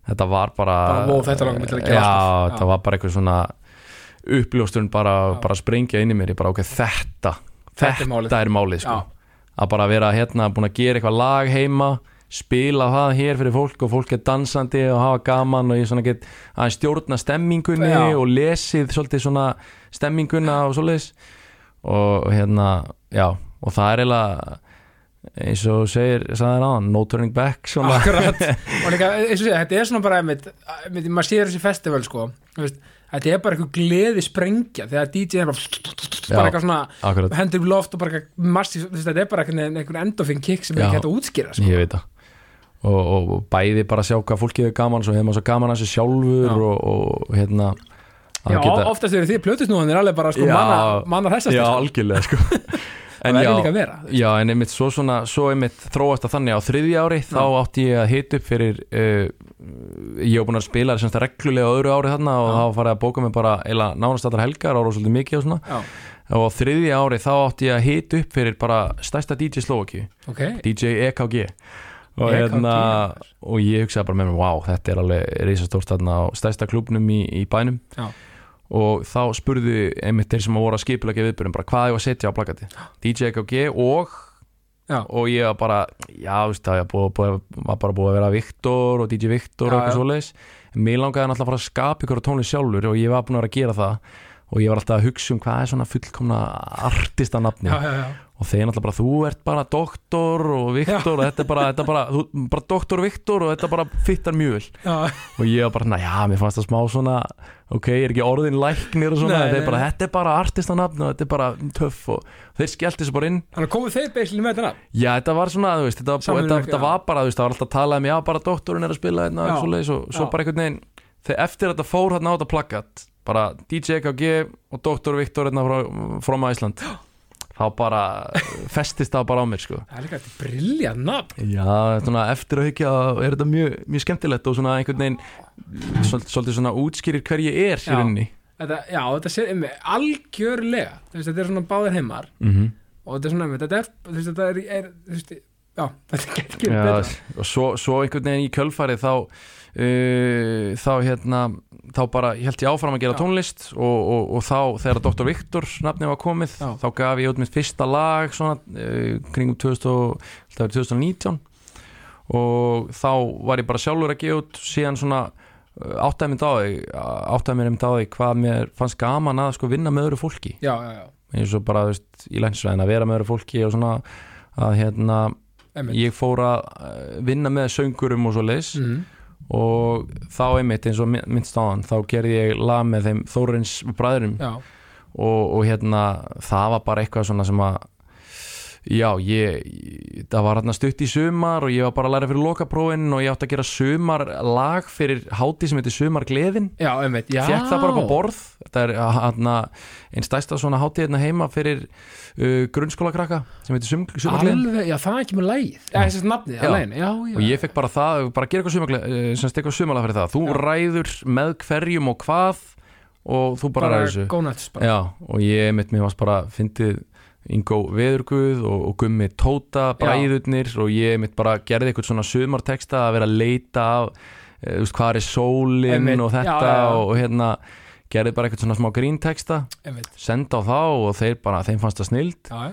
þetta var bara Bara, wow, þetta langar mig til að gera já, alltaf. þetta var bara einhver svona uppljóstun bara, Já. bara sprengja inn í mér ég bara ok, þetta Þetta er málið. er málið sko. Já. að bara vera hérna búin að gera eitthvað lag heima spila það hér fyrir fólk og fólk er dansandi og hafa gaman og ég svona get að stjórna stemmingunni Já. og lesið svolítið svona stemminguna og svoleiðis og hérna, já og það er eiginlega eins og þú segir, sagði hann, no turning back svona, Akkurat og líka, eins og segja, þetta er svona bara einmitt, einmitt maður sér þessi festival sko þú veist, þetta er bara eitthvað gleði sprengja þegar DJ er bara, bara eitthvað svona akkurat, hendur upp í loft og bara eitthvað massíf, þú veist, þetta er bara einhvern einhver endofinn kick sem er Já. ekki hægt að útskýra sko. ég veit það og, og, og bæði bara sjá hvað fólkið er gaman svo hefur maður svo gaman að sér Já. sjálfur og, og hérna að já, oftast eru því plötusnúðanir alveg bara sko, Já. manna, manna hressast já, sko. algjörlega sko það verður líka að vera Já, en einmitt svo svona, svo einmitt þróast að þannig á þriðja ári, þá átti ég að hita upp fyrir, uh, ég var búin að spila semst reglulega á öðru ári þarna og Já. þá farið að bóka mig bara, eila nánast allar helgar ára og svolítið mikið og svona, já, og á þriðja ári þá átti ég að hita upp fyrir bara stærsta DJ Slovaki, ok, DJ EKG E og, EKG, hérna, maður. og ég hugsaði bara með mér, wow, þetta er alveg reisastórt þarna á stærsta klubnum í, í bænum já, og þá spurðu einmitt þeir sem voru að skipulegja viðbyrjum bara hvað ég var að setja á plakati DJ EKG og Já. og ég var bara, já þú veist það ég var búið- búið- var bara búið að vera Viktor og DJ Viktor Já, og eitthvað já. svoleiðis en mér langaði náttúrulega að fara að skapa ykkur tónlist sjálfur og ég var búin að vera að gera það og ég var alltaf að hugsa um hvað er svona fullkomna artista nafni já, já, já, og þeir náttúrulega bara þú ert bara doktor og Viktor og þetta er bara, þetta er bara, þú, bara doktor Viktor og þetta bara fittar mjög vel já, og ég var bara, na, já, mér fannst það smá svona ok, ég er ekki orðin læknir og svona Nei, nei, nei, bara, nei. þetta er bara artistanafn og þetta er bara töff og þeir skellti þessu bara inn þannig að komu þeir beislinu með þetta nafn já, þetta var svona, þú veist, þetta, var- Samvinnu, þetta, já. þetta var bara þú veist, það var alltaf að tala um, já, bara doktorinn er að spila hérna, Já, og svoleiðis og svo já. bara einhvern veginn þegar eftir þetta fór hérna á þetta plakat bara DJ KG og doktor Viktor hérna frá, frá maður Ísland þá bara festist það bara á mér sko það er líka þetta brillja nafn Já, svona, eftir að hugja er þetta mjög, mjög skemmtilegt og svona einhvern veginn svol- svolítið svona útskýrir hver ég er í Já. rauninni þetta, já, þetta sé einmitt, algjörlega Þú veist, þetta er svona báðir heimar mm -hmm. og þetta er svona, einmitt, þetta er, þú veist, þetta er, er þú veist, já, þetta getur ekki Já, betra og svo, svo einhvern veginn í kjölfarið þá uh, þá hérna þá bara held ég áfram að gera Já. tónlist og, og, og þá þegar Dr. Viktor nafnið var komið, Já. þá gaf ég út mitt fyrsta lag svona uh, kringum 2000, og- það var 2019 og þá var ég bara sjálfur að gefa út síðan svona uh, áttaði mér dáði áttaði mér einmitt á því hvað mér fannst gaman að sko vinna með öðru fólki já, já, já, eins og bara þú veist, í lænsræðin að vera með öðru fólki og svona að hérna einmitt ég fór að eh, vinna með söngurum og svo leis mm. og þá einmitt eins og mi- minnst á hann þá gerði ég lag með þeim Þórins bræðurum já, og, og hérna það var bara eitthvað svona sem að já, ég, það var hérna stutt í sumar og ég var bara að læra fyrir lokaprófin og ég átti að gera sumar lag fyrir hátíð sem heitir sumar gleðin já, einmitt, já fekk það bara upp á borð þetta er hérna einn stærsta svona hátíð hérna heima fyrir uh, grunnskólakrakka sem heitir sum, sumar gleðin Alveg, já, það er ekki með lægið Já, þessi nafnið, Já. að læginu, já, já og ég fekk bara það, bara gera eitthvað sumarlega sem stekka sumarlega fyrir það, þú Já. ræður með hverjum og hvað og þú bara, bara ræður þessu Go nuts bara Já, og ég mitt mér varst bara fyndið Ingo Veðurguð og, og Gummi Tóta bræðurnir og ég mitt bara gerði eitthvað svona sumarteksta að vera að leita af eh, þú veist, hvað er sólin Einmitt, og já, þetta já, já. Og, og hérna gerði bara eitthvað svona smá grínteksta Einmitt, senda á þá og þeir bara, þeim fannst það snild já, já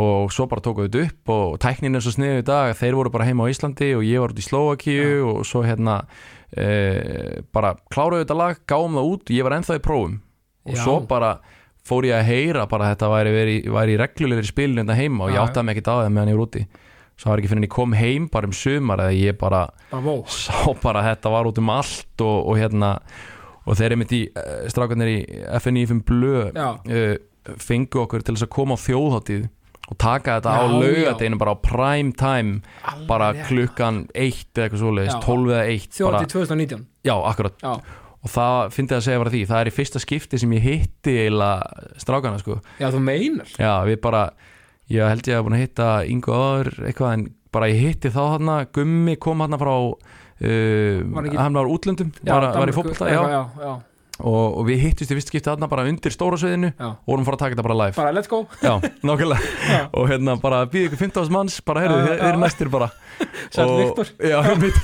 og svo bara tóku þetta upp og tæknin er svo sniðu í dag að þeir voru bara heima á Íslandi og ég var út í Slovakíu og svo hérna e, bara kláruðu þetta lag, gáum það út ég var ennþá í prófum og Já. svo bara fór ég að heyra bara að þetta væri, veri, væri reglulegur í spilinu þetta heima og Já, ég já. áttaði mig ekkert á það meðan ég var úti svo var ekki fyrir en ég kom heim bara um sumar eða ég bara Bara vó sá bara að þetta var út um allt og, og hérna og þeir eru mitt í e, strákarnir í FNIFM Blö Já, uh, fengu okkur til þess að koma á þjóðháttíð og taka þetta á Já, laugadeinu bara á prime time alveg bara rétt. klukkan eitt eða eitthvað svoleiðis, Já. 12 eða eitt bara, Þjóðhátíð 2019 já, akkurat Já, og það fyndi að segja bara því, það er í fyrsta skipti sem ég hitti eiginlega strákana sko. já þú meinar já, við bara ég held ég að búin að hitta Ingo Öður eitthvað en bara ég hitti þá þarna Gummi kom þarna frá uh, Var ekki- hann var útlöndum, Já, var, var í Danmörku, fótbolta já, Já, já, og, og við hittist í fyrsta skipti þarna bara undir stóra sveðinu já og vorum fara að taka þetta bara live Bara let's go Já, nákvæmlega Já. Og hérna bara býð ykkur 15 manns Bara heyrðu, Já, þeir já. eru næstir bara Sæll Og- Viktor. Já, einmitt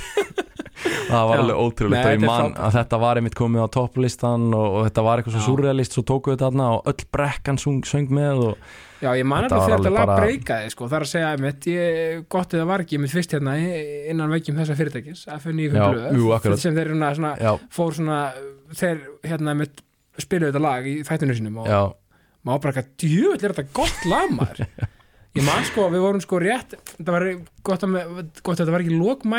Það var Já. alveg Nei, ótrúlegt og ég þetta er man frábært. að þetta var einmitt komið á topplistan og, og þetta var eitthvað svo Já. surrealist Svo tókuðu þetta þarna og öll brekkan sung, söng með og, Já, ég man þetta Þetta var þegar þetta alveg lag bara- breykaði sko. Það er að segja, einmitt, ég, gott eða var ekki Ég mitt fyrst hérna í- innan vekkjum þessa fyrirtækis FNÍ Já, blöð jú, Þetta akkurat. sem þeir svona, svona, Já, fór svona Þeir hérna einmitt spiluðu þetta lag í þættinu sinum og já, maður bara eitthvað, djöfull er þetta gott lag maður ég man sko að við vorum sko rétt það var gott að, me- gott að þetta var ekki lok mæ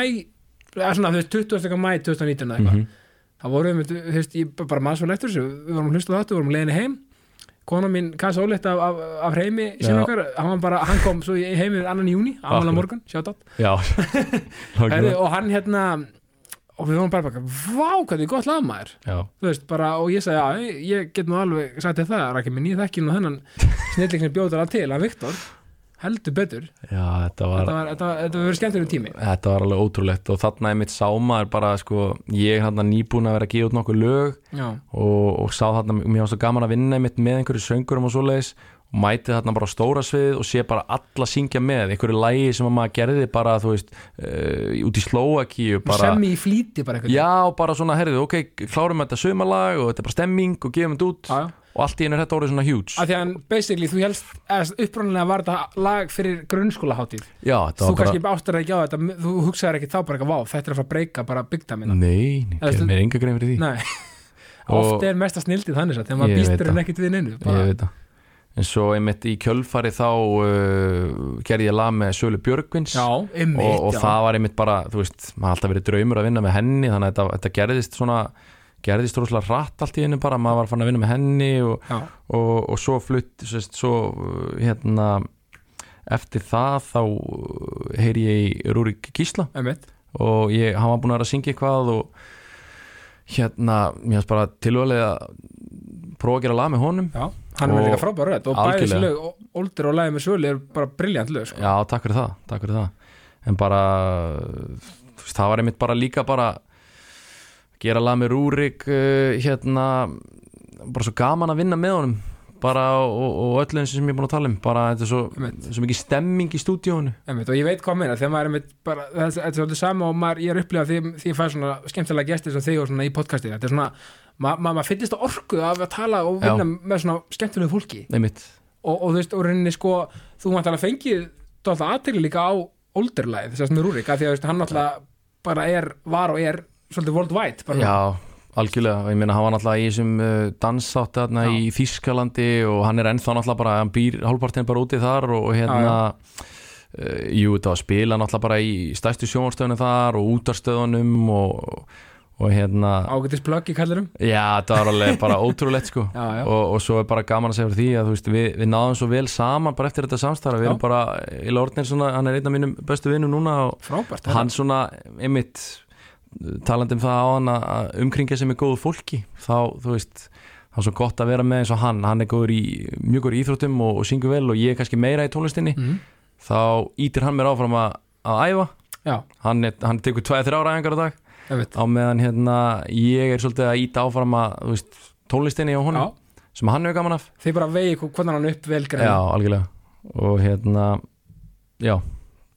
eða svona þú veist 20. mæ 2019 eða eitthvað Mhm. þá vorum við, þú veist, ég bara maður svo lektur þessu við vorum hlustað á þetta, við vorum leiðinni heim kona mín, kannski óleitt af, af, af heimi sem Já. okkar, hann, var bara, hann kom svo í heimið annan júni, ámæla Akkurat. morgun sjátt átt, já Nákvæmlega. og hann hérna og við vorum bara bara, vá hvað þetta er gott lag maður Já, þú veist, bara, og ég sagði, já, ég get nú alveg sagt þér það, Raki minn, ég þekki nú þennan snilling sem bjóður það til, að Viktor heldur betur, já, þetta var þetta var, þetta, þetta var verið skemmtilegum tími Þetta var alveg ótrúlegt og þarna einmitt sá maður bara sko, ég hann nýbúin að vera að gefa út nokkuð lög já, og, og sá þarna, mér var svo gaman að vinna einmitt með einhverju söngurum og svoleiðis og mæti þarna bara á stóra sviðið og sé bara alla syngja með, einhverju lægi sem að maður gerði bara, þú veist, uh, út í Slovakíu bara, bara, sem í flýti bara eitthvað já, bara svona, herðu, ok klárum þetta sumalag og þetta er bara stemming og gefum þetta út já, já. og allt í einu er þetta orðið svona huge að því að basically, þú helst, eða upprónulega var þetta lag fyrir grunnskólaháttíð já, þetta þú var kannski bara, áttar ekki á þetta, þú hugsaðar ekki þá bara eitthvað, vá, þetta er að fara að breyka bara bygda minna, nei, nei, Eða gerði mér enga grein fyrir því nei Oft er mesta snildið þannig satt, þegar maður Ég veit býstur en það. ekkert við neinu bara, ég veit það en svo einmitt í kjölfari þá uh, gerði ég lag með Sölu Björgvins Já, og, ymmit og það var einmitt bara þú veist, maður hafði alltaf verið draumur að vinna með henni þannig að þetta, þetta gerðist svona gerðist rúslega rætt allt í henni bara maður var fann að vinna með henni og, Já, og, og svo flutt svo, svo uh, hérna eftir það þá uh, heyri ég í Rúrik Gísla ymmit og ég, hann var búinn að vera að syngja eitthvað og hérna, mér hans bara tilvalið að prófa að gera lag með honum Já, hann er með Og- líka frábær rödd og bæði þessi Algjörlega. lög, Oldur og lagið með Svölu er bara briljant lög sko. Já, takk fyrir það, takk fyrir það en bara, þú veist, það var einmitt bara líka bara gera lag með Rúrik uh, hérna, bara svo gaman að vinna með honum bara og, og öllu eins sem ég er búinn að tala um bara þetta er svo, Einmitt. svo mikið stemming í stúdíónu Einmitt, og ég veit hvað að meina, þegar maður er einmitt bara, þetta þetta er svolítið sama og maður, ég er upplegað því, því ég fæ svona skemmtilega gesti sem þig og svona í podcastið, þetta er svona maður ma, ma fyllist á orku af að tala og vinna Já. með svona skemmtilegu fólki einmitt, og, og þú veist, og rauninni sko þú mátt alveg fengið dálta aðtegli líka á olderlæð, þess að með Rúrik, af því að þú veist, hann náttúrulega bara er, var og er svolítið worldwide, bara Já, algjörlega, ég meina hann var náttúrulega í þessum uh, dansátti þarna Já. í Þískalandi og hann er ennþá náttúrulega bara, hann býr hálfpartinn bara úti þar og, og hérna Uh, jú, þetta var að spila náttúrulega bara í stærstu sjónvarstöðunum þar og útarstöðunum og, og hérna ágætis plögg í kallurum Já, þetta var alveg bara ótrúlegt sko Já, já. Og, og svo er bara gaman að segja fyrir því að þú veist, við, við náðum svo vel saman bara eftir þetta samstarf Já. Við erum bara, í lórnir svona, hann er einn af mínum bestu vinnum núna og, frábært, hann svona einmitt talandi um það á hann að- að umkringja sem er góðu fólki þá þú veist þá er svo gott að vera með eins og hann hann er góður í mjög góður í íþróttum og, og syngur vel og ég er kannski meira í tónlistinni mm. þá ítir hann mér áfram að, að æfa já, hann, er, hann tekur 2-3 ára æfingar á dag einmitt á meðan hérna ég er svolítið að íta áfram að þú veist, tónlistinni á honum já, sem hann hefur gaman af þeir bara vegi hvo- hvernig hann upp vel já, greið algjörlega og hérna já,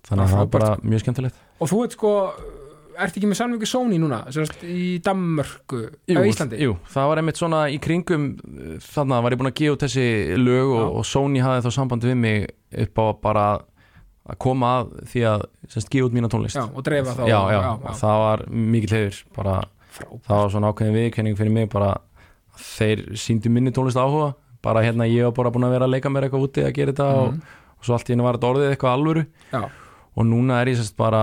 þannig að það Það er er bara mjög skemmtilegt og þú veit sko, ert ekki með samvikið Sony núna, sérst, í Danmörku eða Íslandi, jú, það var einmitt svona í kringum uh, þarna var ég búinn að gefa út þessi lög og, Já. og Sony hafði þá samband við mig upp á bara að koma að því að semst gefa út mína tónlist já, og dreifa þá já, já, já, já. það var mikill hefur bara, Frábært. það var svona ákveðin viðkenning fyrir mig bara að þeir síndu minni tónlist áhuga bara hérna ég var bara búinn að vera að leika mér eitthvað úti að gera þetta Mhm. og, og svo allt í henni var þetta orðið eitthvað alvöru já. og núna er ég semst bara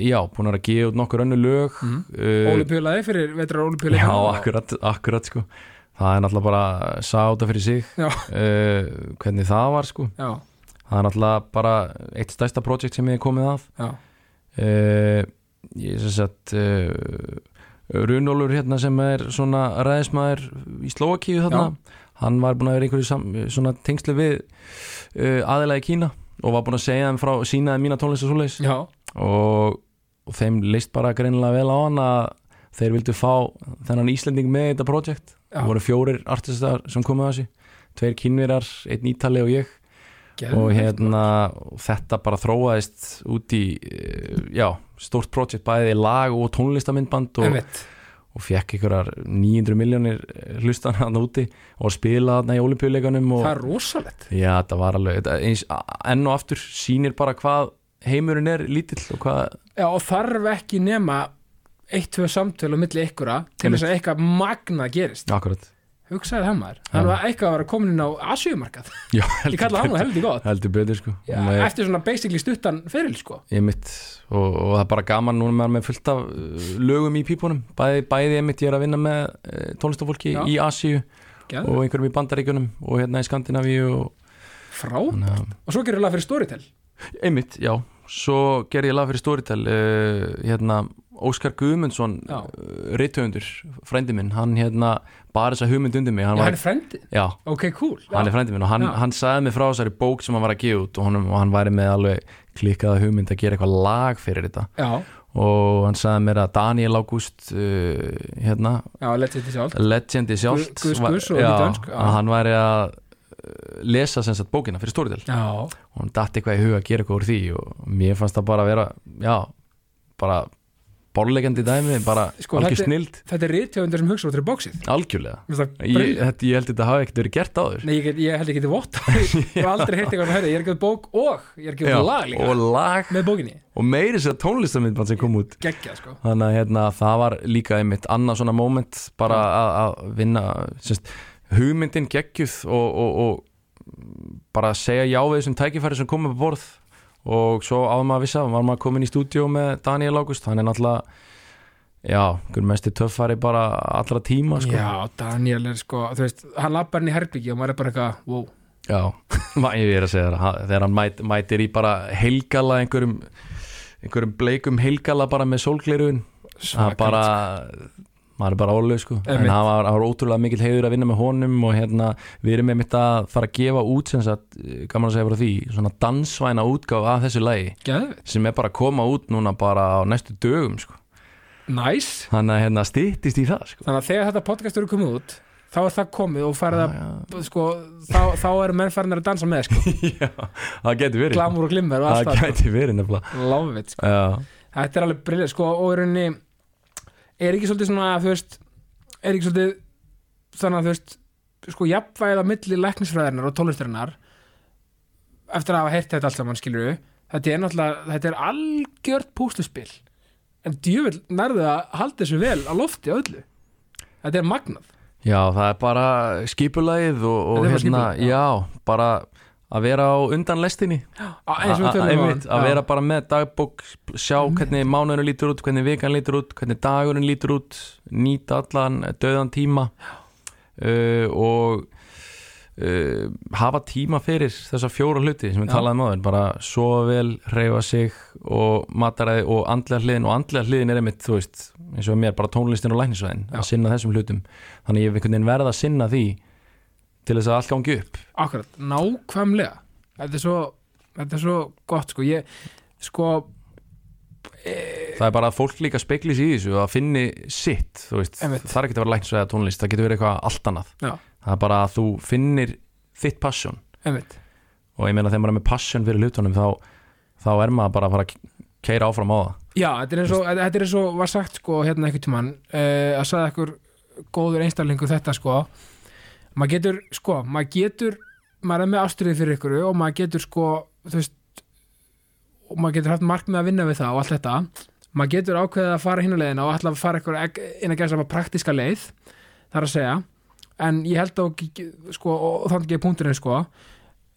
já, búinn að vera að gefa út nokkur önnu lög mm Mhm. Óli Pjölaði fyrir vetrar Óli Pjölaði Já, akkurat, akkurat sko Það er náttúrulega bara sáta fyrir sig Já. uh, Hvernig það var sko já, Það er náttúrulega bara eitt stærsta projekt sem ég er komið að já, uh, Ég sem sagt uh, Runólur hérna sem er svona ræðismæður í Slóakíu þarna Hann var búin að vera í einhverju sam, svona tengslu við uh, aðila í Kína og var búin að segja þeim frá sínaði mína tónlist og svoleiðis já, og, og þeim leist bara greinilega vel á hann að þeir vildu fá þennan Íslending með í þetta projekt Já. það voru fjórir artistar sem komu að þessu tveir kynverar, einn ítali og ég Geðveikt. og hérna og þetta bara þróaðist út í eh, já, stórt projekt bæði lag og tónlistamindband og, Einmitt. og fekk einhverjar 900 miljónir hlustan hann eh, úti og spila þarna í olimpíuleikanum og það er rosalegt já, þetta var alveg þetta, eins, enn og aftur sýnir bara hvað heimurinn er lítill og hvað já, og þarf ekki nema eitt, tvö samtöl á milli ykkura til þess að eitthvað magna gerist Akkurat hugsaði það maður, hann Já. var eitthvað að vera komin inn á Asjumarkað, Já, ég kalla hann nú heldur gott heldur betur sko já, Maður- eftir svona basically stuttan fyrir sko Ég mitt og, og það er bara gaman núna maður er með fullt af uh, lögum í pípunum bæði, bæði ég mitt ég er að vinna með uh, tónlistafólki Já. í Asíu Geðveikt. og einhverjum í Bandaríkjunum og hérna í Skandinavíu og frá, þannig að og svo gerir lag fyrir Storytel Einmitt, já, svo gerði ég lag fyrir Storytel uh, hérna, Óskar Guðmundsson Já. uh, rithöfundur, frændi minn hann hérna, bara þess að hugmynd undir mig já, hann hann var, er frendi, já, ok cool hann já, er frændið minn og hann, Já. hann sagði mig frá þessari bók sem hann var að gefa út og hann, og hann væri með alveg klikkaða hugmynd að gera eitthvað lag fyrir þetta já, og hann sagði mér að Daniel August uh, hérna, já, let's it sjálf legendi sjálft Guð- Guðs var- Guðs og já, lítið önsk, já. að hann væri að uh, lesa sem sagt bókina fyrir Storytel já, og hann datti eitthvað í huga að gera eitthvað úr því og mér fannst það bara að vera já, bara borlegjandi dæmi, bara Sko, algjör þetta- snild Þetta er rítjóðundir sem hugsa út fyrir bóksið algjörlega Mér finnst það ég, brill- þetta, ég held að þetta hafi ekkert verið gert áður Nei, ég, get- ég held ekki þið vott Ég hef aldrei heitt eitthvað að höra Ég er ekki bók og ég er ekki Já, lag líka og lag Með bókinni, og meiri sér tónlistamindband sem kom út geggjað sko þannig að hérna, það var líka einmitt annað svona moment bara að, að vinna sérst, hugmyndin geggjuð og, og, og bara segja já við þessum tækifæri sem komið på borð og svo áður maður að vissa var maður komin í stúdíó með Daniel August hann er náttúrulega já, hvernig mest er töffari bara allra tíma sko. Já, Daniel er sko, þú veist, hann lappar hann í herbyggi og maður er bara eitthvað, wow Já, ég er að segja það hann- þegar hann mæt, mætir í bara helgala einhverjum, einhverjum bleikum helgala bara með sólgleruðun það svakalegt, bara sko. maður er bara ólega sko en Einmitt. það var, það var ótrúlega mikill heiður að vinna með honum og hérna við erum einmitt að fara að gefa út sem sagt, eh, gaman að segja frá því svona dansvæna útgáfa af þessu lagi Geðveikt. sem er bara að koma út núna bara á næstu dögum sko Næs þannig að hérna stýttist í það sko Þannig að þegar þetta podcast eru komið út þá er það komið og farið að Já, sko, þá, þá eru menn farinir að dansa með sko, já, það getur verið glamour og glimmer og allt það það, getur verið nefnilega lofið sko. já, Þetta er alveg brillið sko og í rauninni er ekki svolítið svona þú veist, er ekki svolítið þannig að þú veist sko jafnvægið á milli læknisfræðarnar og tónlistarinnar eftir að hafa heyrt þetta allt saman skilur við þetta er náttúrulega, þetta er algjört púsluspil en djöfull nærðu að halda þessu vel á lofti á öllu þetta er magnað já, það er bara skipulagið og, Þetta er bara og hérna, skipulagið, já. já, bara að vera á undan lestinni Á- eins og við A- tölum um áðan. einmitt, að Já. Mhm. vera bara með dagbók sjá hvernig mánuðinu lítur út hvernig vikan lítur út, hvernig dagurinn lítur út nýta allan döðan tíma uh, og uh, hafa tíma fyrir þessa fjóra hluti sem við Já. talaðum áður bara sofa vel, reyfa sig og mataræði og andlega hliðin og andlega hliðin er einmitt, þú veist, eins og mér bara tónlistin og læknisvæðin Já. að sinna þessum hlutum þannig að ég hef einhvern veginn verð að sinna því til þess að allt gangi upp Akkurat, nákvæmlega Þetta er svo, þetta er svo gott sko ég, sko það er bara að fólk líka speklis í þessu og að finni sitt, þú veist Einmitt. það er ekki að vera læknis eða tónlist, það getur verið eitthvað allt annað Já. það er bara að þú finnir þitt passion einmitt, og ég meina þegar maður er með passion fyrir hlutunum þá, þá er maður bara að fara að keira áfram á það já, þetta er eins og þetta er eins og var sagt sko hérna einhvern tímann uh, að sagði ekkur góður einstaklingur þetta sko maður getur, sko, maður getur maður er með ástriði fyrir ykkur og maður getur sko, þú veist og maður getur haft markmið að vinna við það og allt þetta maður getur ákveðið að fara hinn að leiðina og ætla að fara ykkur inn að gæsa bara praktiska leið þar að segja en ég held að, sko, og þannig er punkturinn sko,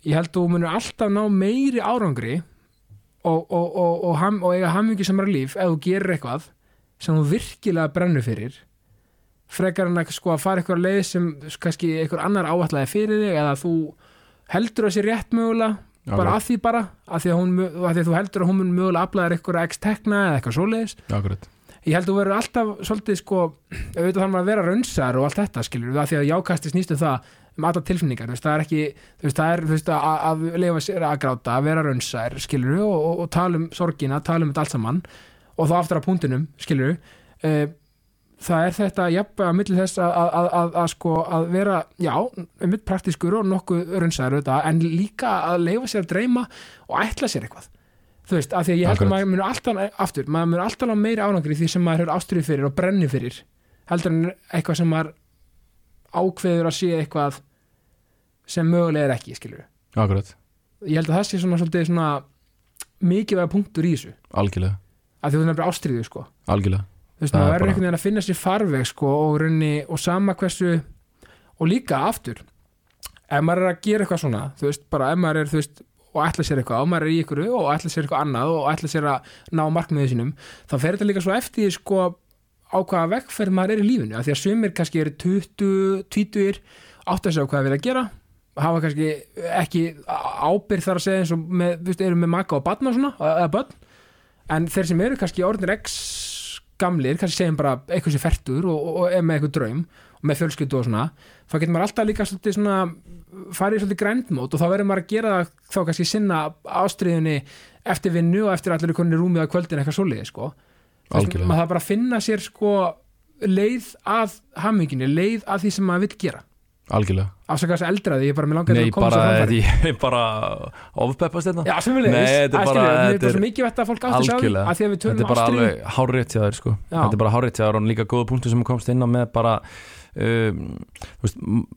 ég held að þú munir alltaf ná meiri árangri og, og, og, og, ham, og eiga hamingi samar líf ef þú gerir eitthvað sem þú virkilega brennur fyrir frekar en að sko að fara eitthvað leið sem kannski einhver annar áætlaði fyrir þig eða þú heldur að sé rétt mögulega bara Akkurat. að því bara að því að, hún, mö- að því að þú heldur að hún mun mögulega aflaðar eitthvað x tekna eða eitthvað svoleiðis Akkurat. ég held að þú verður alltaf svolítið sko auðvitað þarf maður að vera raunsar og allt þetta skilur við að því að jákasti snýstu það um alla tilfinningar, þú veist, það er ekki þú veist, það er, þú veist, að, að leifa sér að gráta að vera raunsar, skilur við og, og, og tala um sorgina, tala um þetta allt saman og þá aftur á punktinum, skilur við það er þetta jafnvega að milli þess að, að, að, að, að sko að vera, já, mitt praktískur og nokkuð raunsar auðvitað, en líka að leifa sér að dreyma og ætla sér eitthvað þú veist, af því að ég held að Akkurat. maður munu alltaf aftur, maður munu alltaf ná meiri ánangri í því sem maður hefur ástríð fyrir og brenni fyrir heldur en eitthvað sem maður ákveður að sé eitthvað sem mögulega er ekki, skilur Akkurat. ég held að það sé svona svolítið svona mikilvæga punktur í þessu algjörlega, af því að það er bara ástríðu, sko algjörlega þú veist, Það maður er verður bara- einhvern veginn að finna sér farveg sko, og, raunni, og sama hversu og líka aftur ef maður er að gera eitthvað svona þú veist, bara ef maður er, þú veist, og ætla sér eitthvað og maður er í ykkur og ætla sér eitthvað annað og ætla sér að ná markmiðið sínum þá fer þetta líka svo eftir því, sko á hvaða vegferð maður er í lífinu af því að sumir kannski eru 20, 20 átt að segja hvað það vilja gera hafa kannski ekki ábyrð þar að segja eins og með, þú veist, eru með maka og batna svona, eða börn en þeir sem eru kannski orðinir x gamlir, kannski segjum bara eitthvað sem fertur og, og, og er með eitthvað draum og með fjölskyldu og svona, þá getur maður alltaf líka svolítið svona, farið svolítið grændmót og þá verður maður að gera það þá kannski sinna ástriðinni eftir vinnu og eftir allir konni rúmið á kvöldin eitthvað svoleiði sko Þú veist, Algjörlega. maður þarf bara að finna sér sko leið að haminginni, leið að því sem maður vill gera algjörlega afsaka þessi eldra því ég bara með langar Nei, til að koma bara, svo framfæri ég er bara ofpeppast hérna. þetta Já, semulegis, Nei, þetta er bara- þetta þetta er er svo mikilvægt að fólk átti sig á því algjörlega. að því að við Þetta tölum um er bara ástríðu alveg hárétt hjá þér sko Já. Þetta er bara hárétt hjá þér og hann er líka góða punktu sem hún komst inn á með bara um, þú veist, m-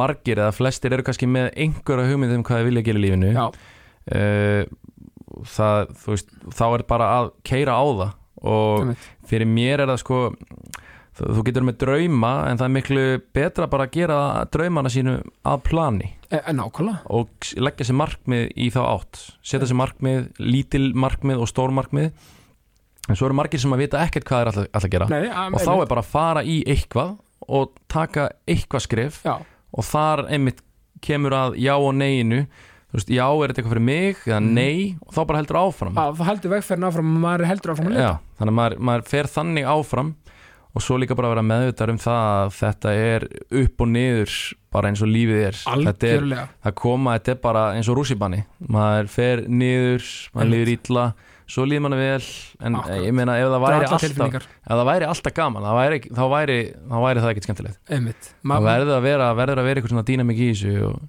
margir eða flestir eru kannski með einhverja hugmynd um hvað þið vilja gera í lífinu Já, uh, það, þú veist, þá er bara að keira á það og Einmitt. fyrir mér er það sko þú þú getur með drauma en það er miklu betra bara að gera draumana sínu að plani e- e, nákvæmlega og s- leggja sér markmið í þá átt setja sér markmið, lítil markmið og stór markmið en svo eru margir sem að vita ekkert hvað er alltaf að gera Nei, að- og þá er bara að fara í eitthvað og taka eitthvað skrif Já, og þar einmitt kemur að já og neyinu þú veist, já er þetta eitthvað fyrir mig eða Mhm. nei og þá bara heldur áfram að heldur vegferðin áfram og maður heldur áfram að leita já, þannig að maður, maður fer þannig áfram og svo líka bara að vera meðvitað um það að þetta er upp og niður bara eins og lífið er þetta er Algjörlega það koma, þetta er bara eins og rússibanni maður fer niður, maður Einmitt. líður illa svo líður manni vel en eh, Akkurat. ég meina ef það Það er væri allar alltaf tilfinningar ef það væri alltaf gaman, það væri, þá, væri, þá væri það ekkert skemmtilegt Einmitt það Ma- verður að vera, verður að vera eitthvað svona dýnamik í þessu og,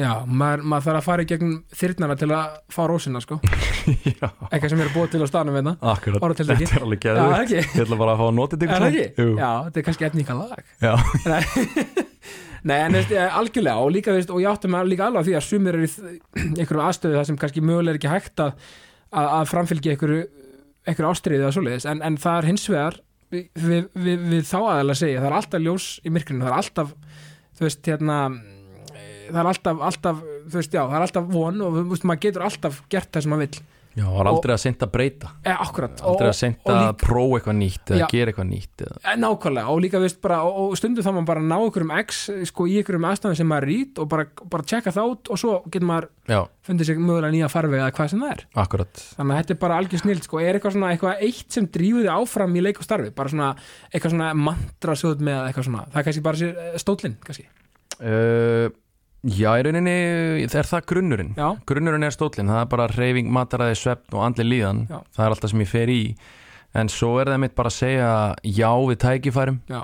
Já, maður maður þarf að fara í gegn þyrnana til að fá rósina sko já, Eitthvað sem er búið til á staðnum hérna akkurat, Orðatiltæki. þetta er alveg Já, það gæður er ekki ég ætla bara að fá að nota þetta Er það einhvern ekki? tímann. Jú. Já, þetta er kannski efni ykkar lag Já. Nei, Nei en veist, eh, algjörlega og líka, veist, og ég átti mig líka alveg á því að sumir eru í þ- einhverjum aðstöðu þar sem kannski mögulega er ekki hægt að, að, að framfylgja einhverju, einhverju ástriðið eða svoleiðis, en, en það er hins vegar við, við, við, við þá aðeins að segja það er alltaf ljós í myrkrinu, það er alltaf þú veist, hérna eh, það er alltaf, alltaf, þú veist, já, það er alltaf von og þú veist, maður getur alltaf gert það sem maður vill já, það er aldrei að senda að breyta eh, akkurat, og, aldrei að og senda að líka prófa eitthvað Já. nýtt eða gera eitthvað nýtt eða. Eh, Nákvæmlega, og líka veist bara og, og stundum þá maður bara að ná einhverjum x sko, í einhverjum aðstæðum sem maður er ít og bara, bara checka það út og svo getur maður já, fundið sér mögulega nýja farvega eða hvað sem það er akkurat þannig að þetta er bara algjör snild sko, er eitthvað svona eitthvað eitt sem drífur þig áfram í leik og starfi bara svona eitthvað svona mantra svo með eða eitthvað svona, það er kannski bara sér stólinn kannski, Eh, uh, já, í rauninni er það grunnurinn já, grunnurinn er stólinn, það er bara reyfing, mataræði, svefn og andli líðan, Já. það er alltaf sem ég fer í en svo er það mitt bara að segja já við tækifærum já,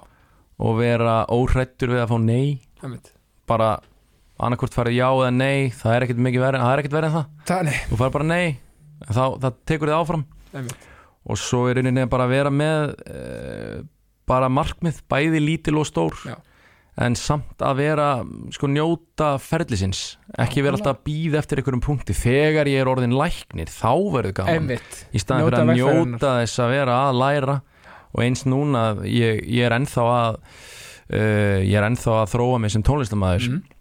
og vera óhrættur við að fá nei það mitt bara annarkvort farið já eða nei það er ekkert mikið verið, það er ekkert verið en það það, nei, þú farið bara nei, en þá, það tekur þið áfram það mitt, og svo er rauninni bara að vera með uh, bara markmið, bæði lítil og stór Já. en samt að vera sko njóta ferlisins ekki vera alltaf að býða eftir einhverjum punkti þegar ég er orðin læknir þá verður gaman einmitt í staðan fyrir Njóta að vegferðarinnar. njóta þess að vera að læra og eins núna ég, ég er ennþá að uh, ég er ennþá að þróa mig sem tónlistamæður Mhm.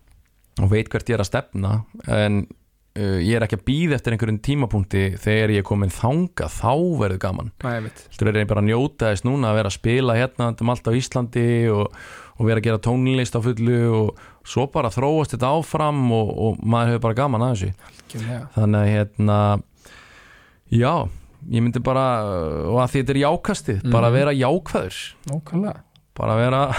og veit hvert ég er að stefna en uh, ég er ekki að býða eftir einhverjum tímapunkti þegar ég er komin þanga þá verður gaman það er mitt, Þú er bara að njóta þess núna að vera að spila hérna um allt á Íslandi og, og vera að gera tónlist á fullu og svo bara þróast þetta áfram og, og maður hefur bara gaman að þessu Algjörlega. þannig að hérna já, ég myndi bara og að því þetta er jákastið, Mhm. bara að vera jákvæður nákvæmlega bara að vera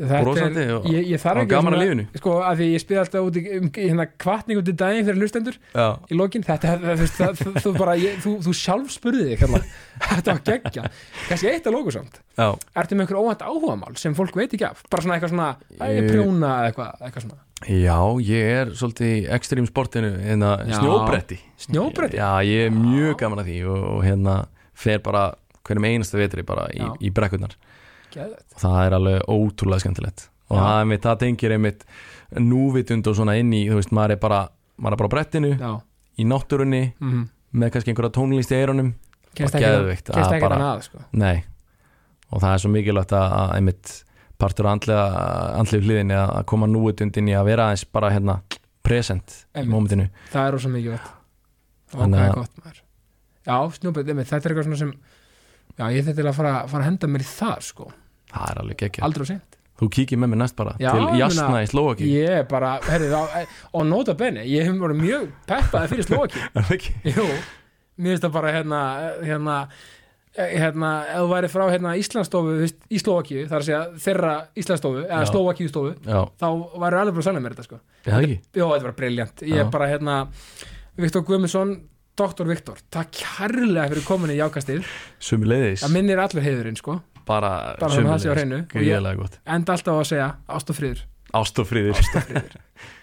Þetta er- Brosandi og- ég, ég þarf og ekki gaman að svona- lífinu. sko, að því ég spyr alltaf út í um, hérna, kvartningu til daginn fyrir hlustendur já. í lokin, þetta, þetta þú, veist, það- þú, þú bara ég, þú, þú sjálf spurði þig hérna. þetta var geggja, kannski eitt að lóku samt Já. ertu með einhver óvænt áhugamál sem fólk veit ekki af bara svona eitthvað svona, að ég prjóna eða eitthvað, eitthvað svona, já, ég er svolítið í extreme sportinu, hérna Já. snjóbretti Snjóbretti? já, ég er mjög gaman að því og, og hérna fer bara hverjum einasta vetri bara í, Já. í brekkurnar geðvett og það er alveg ótrúlega skemmtilegt og Já. það, er mitt, það tengir einmitt núvitund og svona inn í, þú veist, maður er bara maður er bara á brettinu, já, í náttúrunni mm -hmm. með kannski einhverja tónlist í eyrunum kennst Og ekki geðveikt, það- kennst að ekki bara- það að sko. Nei, og það er svo mikilvægt að, að einmitt partur á andlega, andlega hliðinni að að koma núutundinni að vera aðeins bara hérna present Einmitt. í mómentinu það er ósa mikið vett Þannig það er að- gott maður já, snjóbreyt, þetta er eitthvað svona sem já, ég þetta til að fara, fara að henda mér í það sko, Það er alveg ekki aldrei og sent Þú kíkir með mér næst bara Já, ég til Jasna meina- í Slovaki Ég er bara, herrið, á, og nota bene, ég hef verið mjög peppaði fyrir Slovaki. yeah. Jú, mér finnst það bara hérna, hérna, hérna, ef þú væri frá hérna Íslandstofu þú veist, í Slovaki, þar að segja þeirra Íslandstofu, eða Já. Slovaki stofu, Já, þá væri alveg bara sannlega mér þetta sko. er það ekki? Jó, þetta var briljant. Ég er Já. bara hérna, Viktor Guðmundsson, Dr. Viktor, takk kærlega fyrir komin í jákastir. Sumi leiðis Það minnir allur heiðurinn sko, Bara, bara þannig að það sé á hreinu. Og ég Gríðilega gott enda alltaf á að segja ást og friður. Ástofriður Ástofriður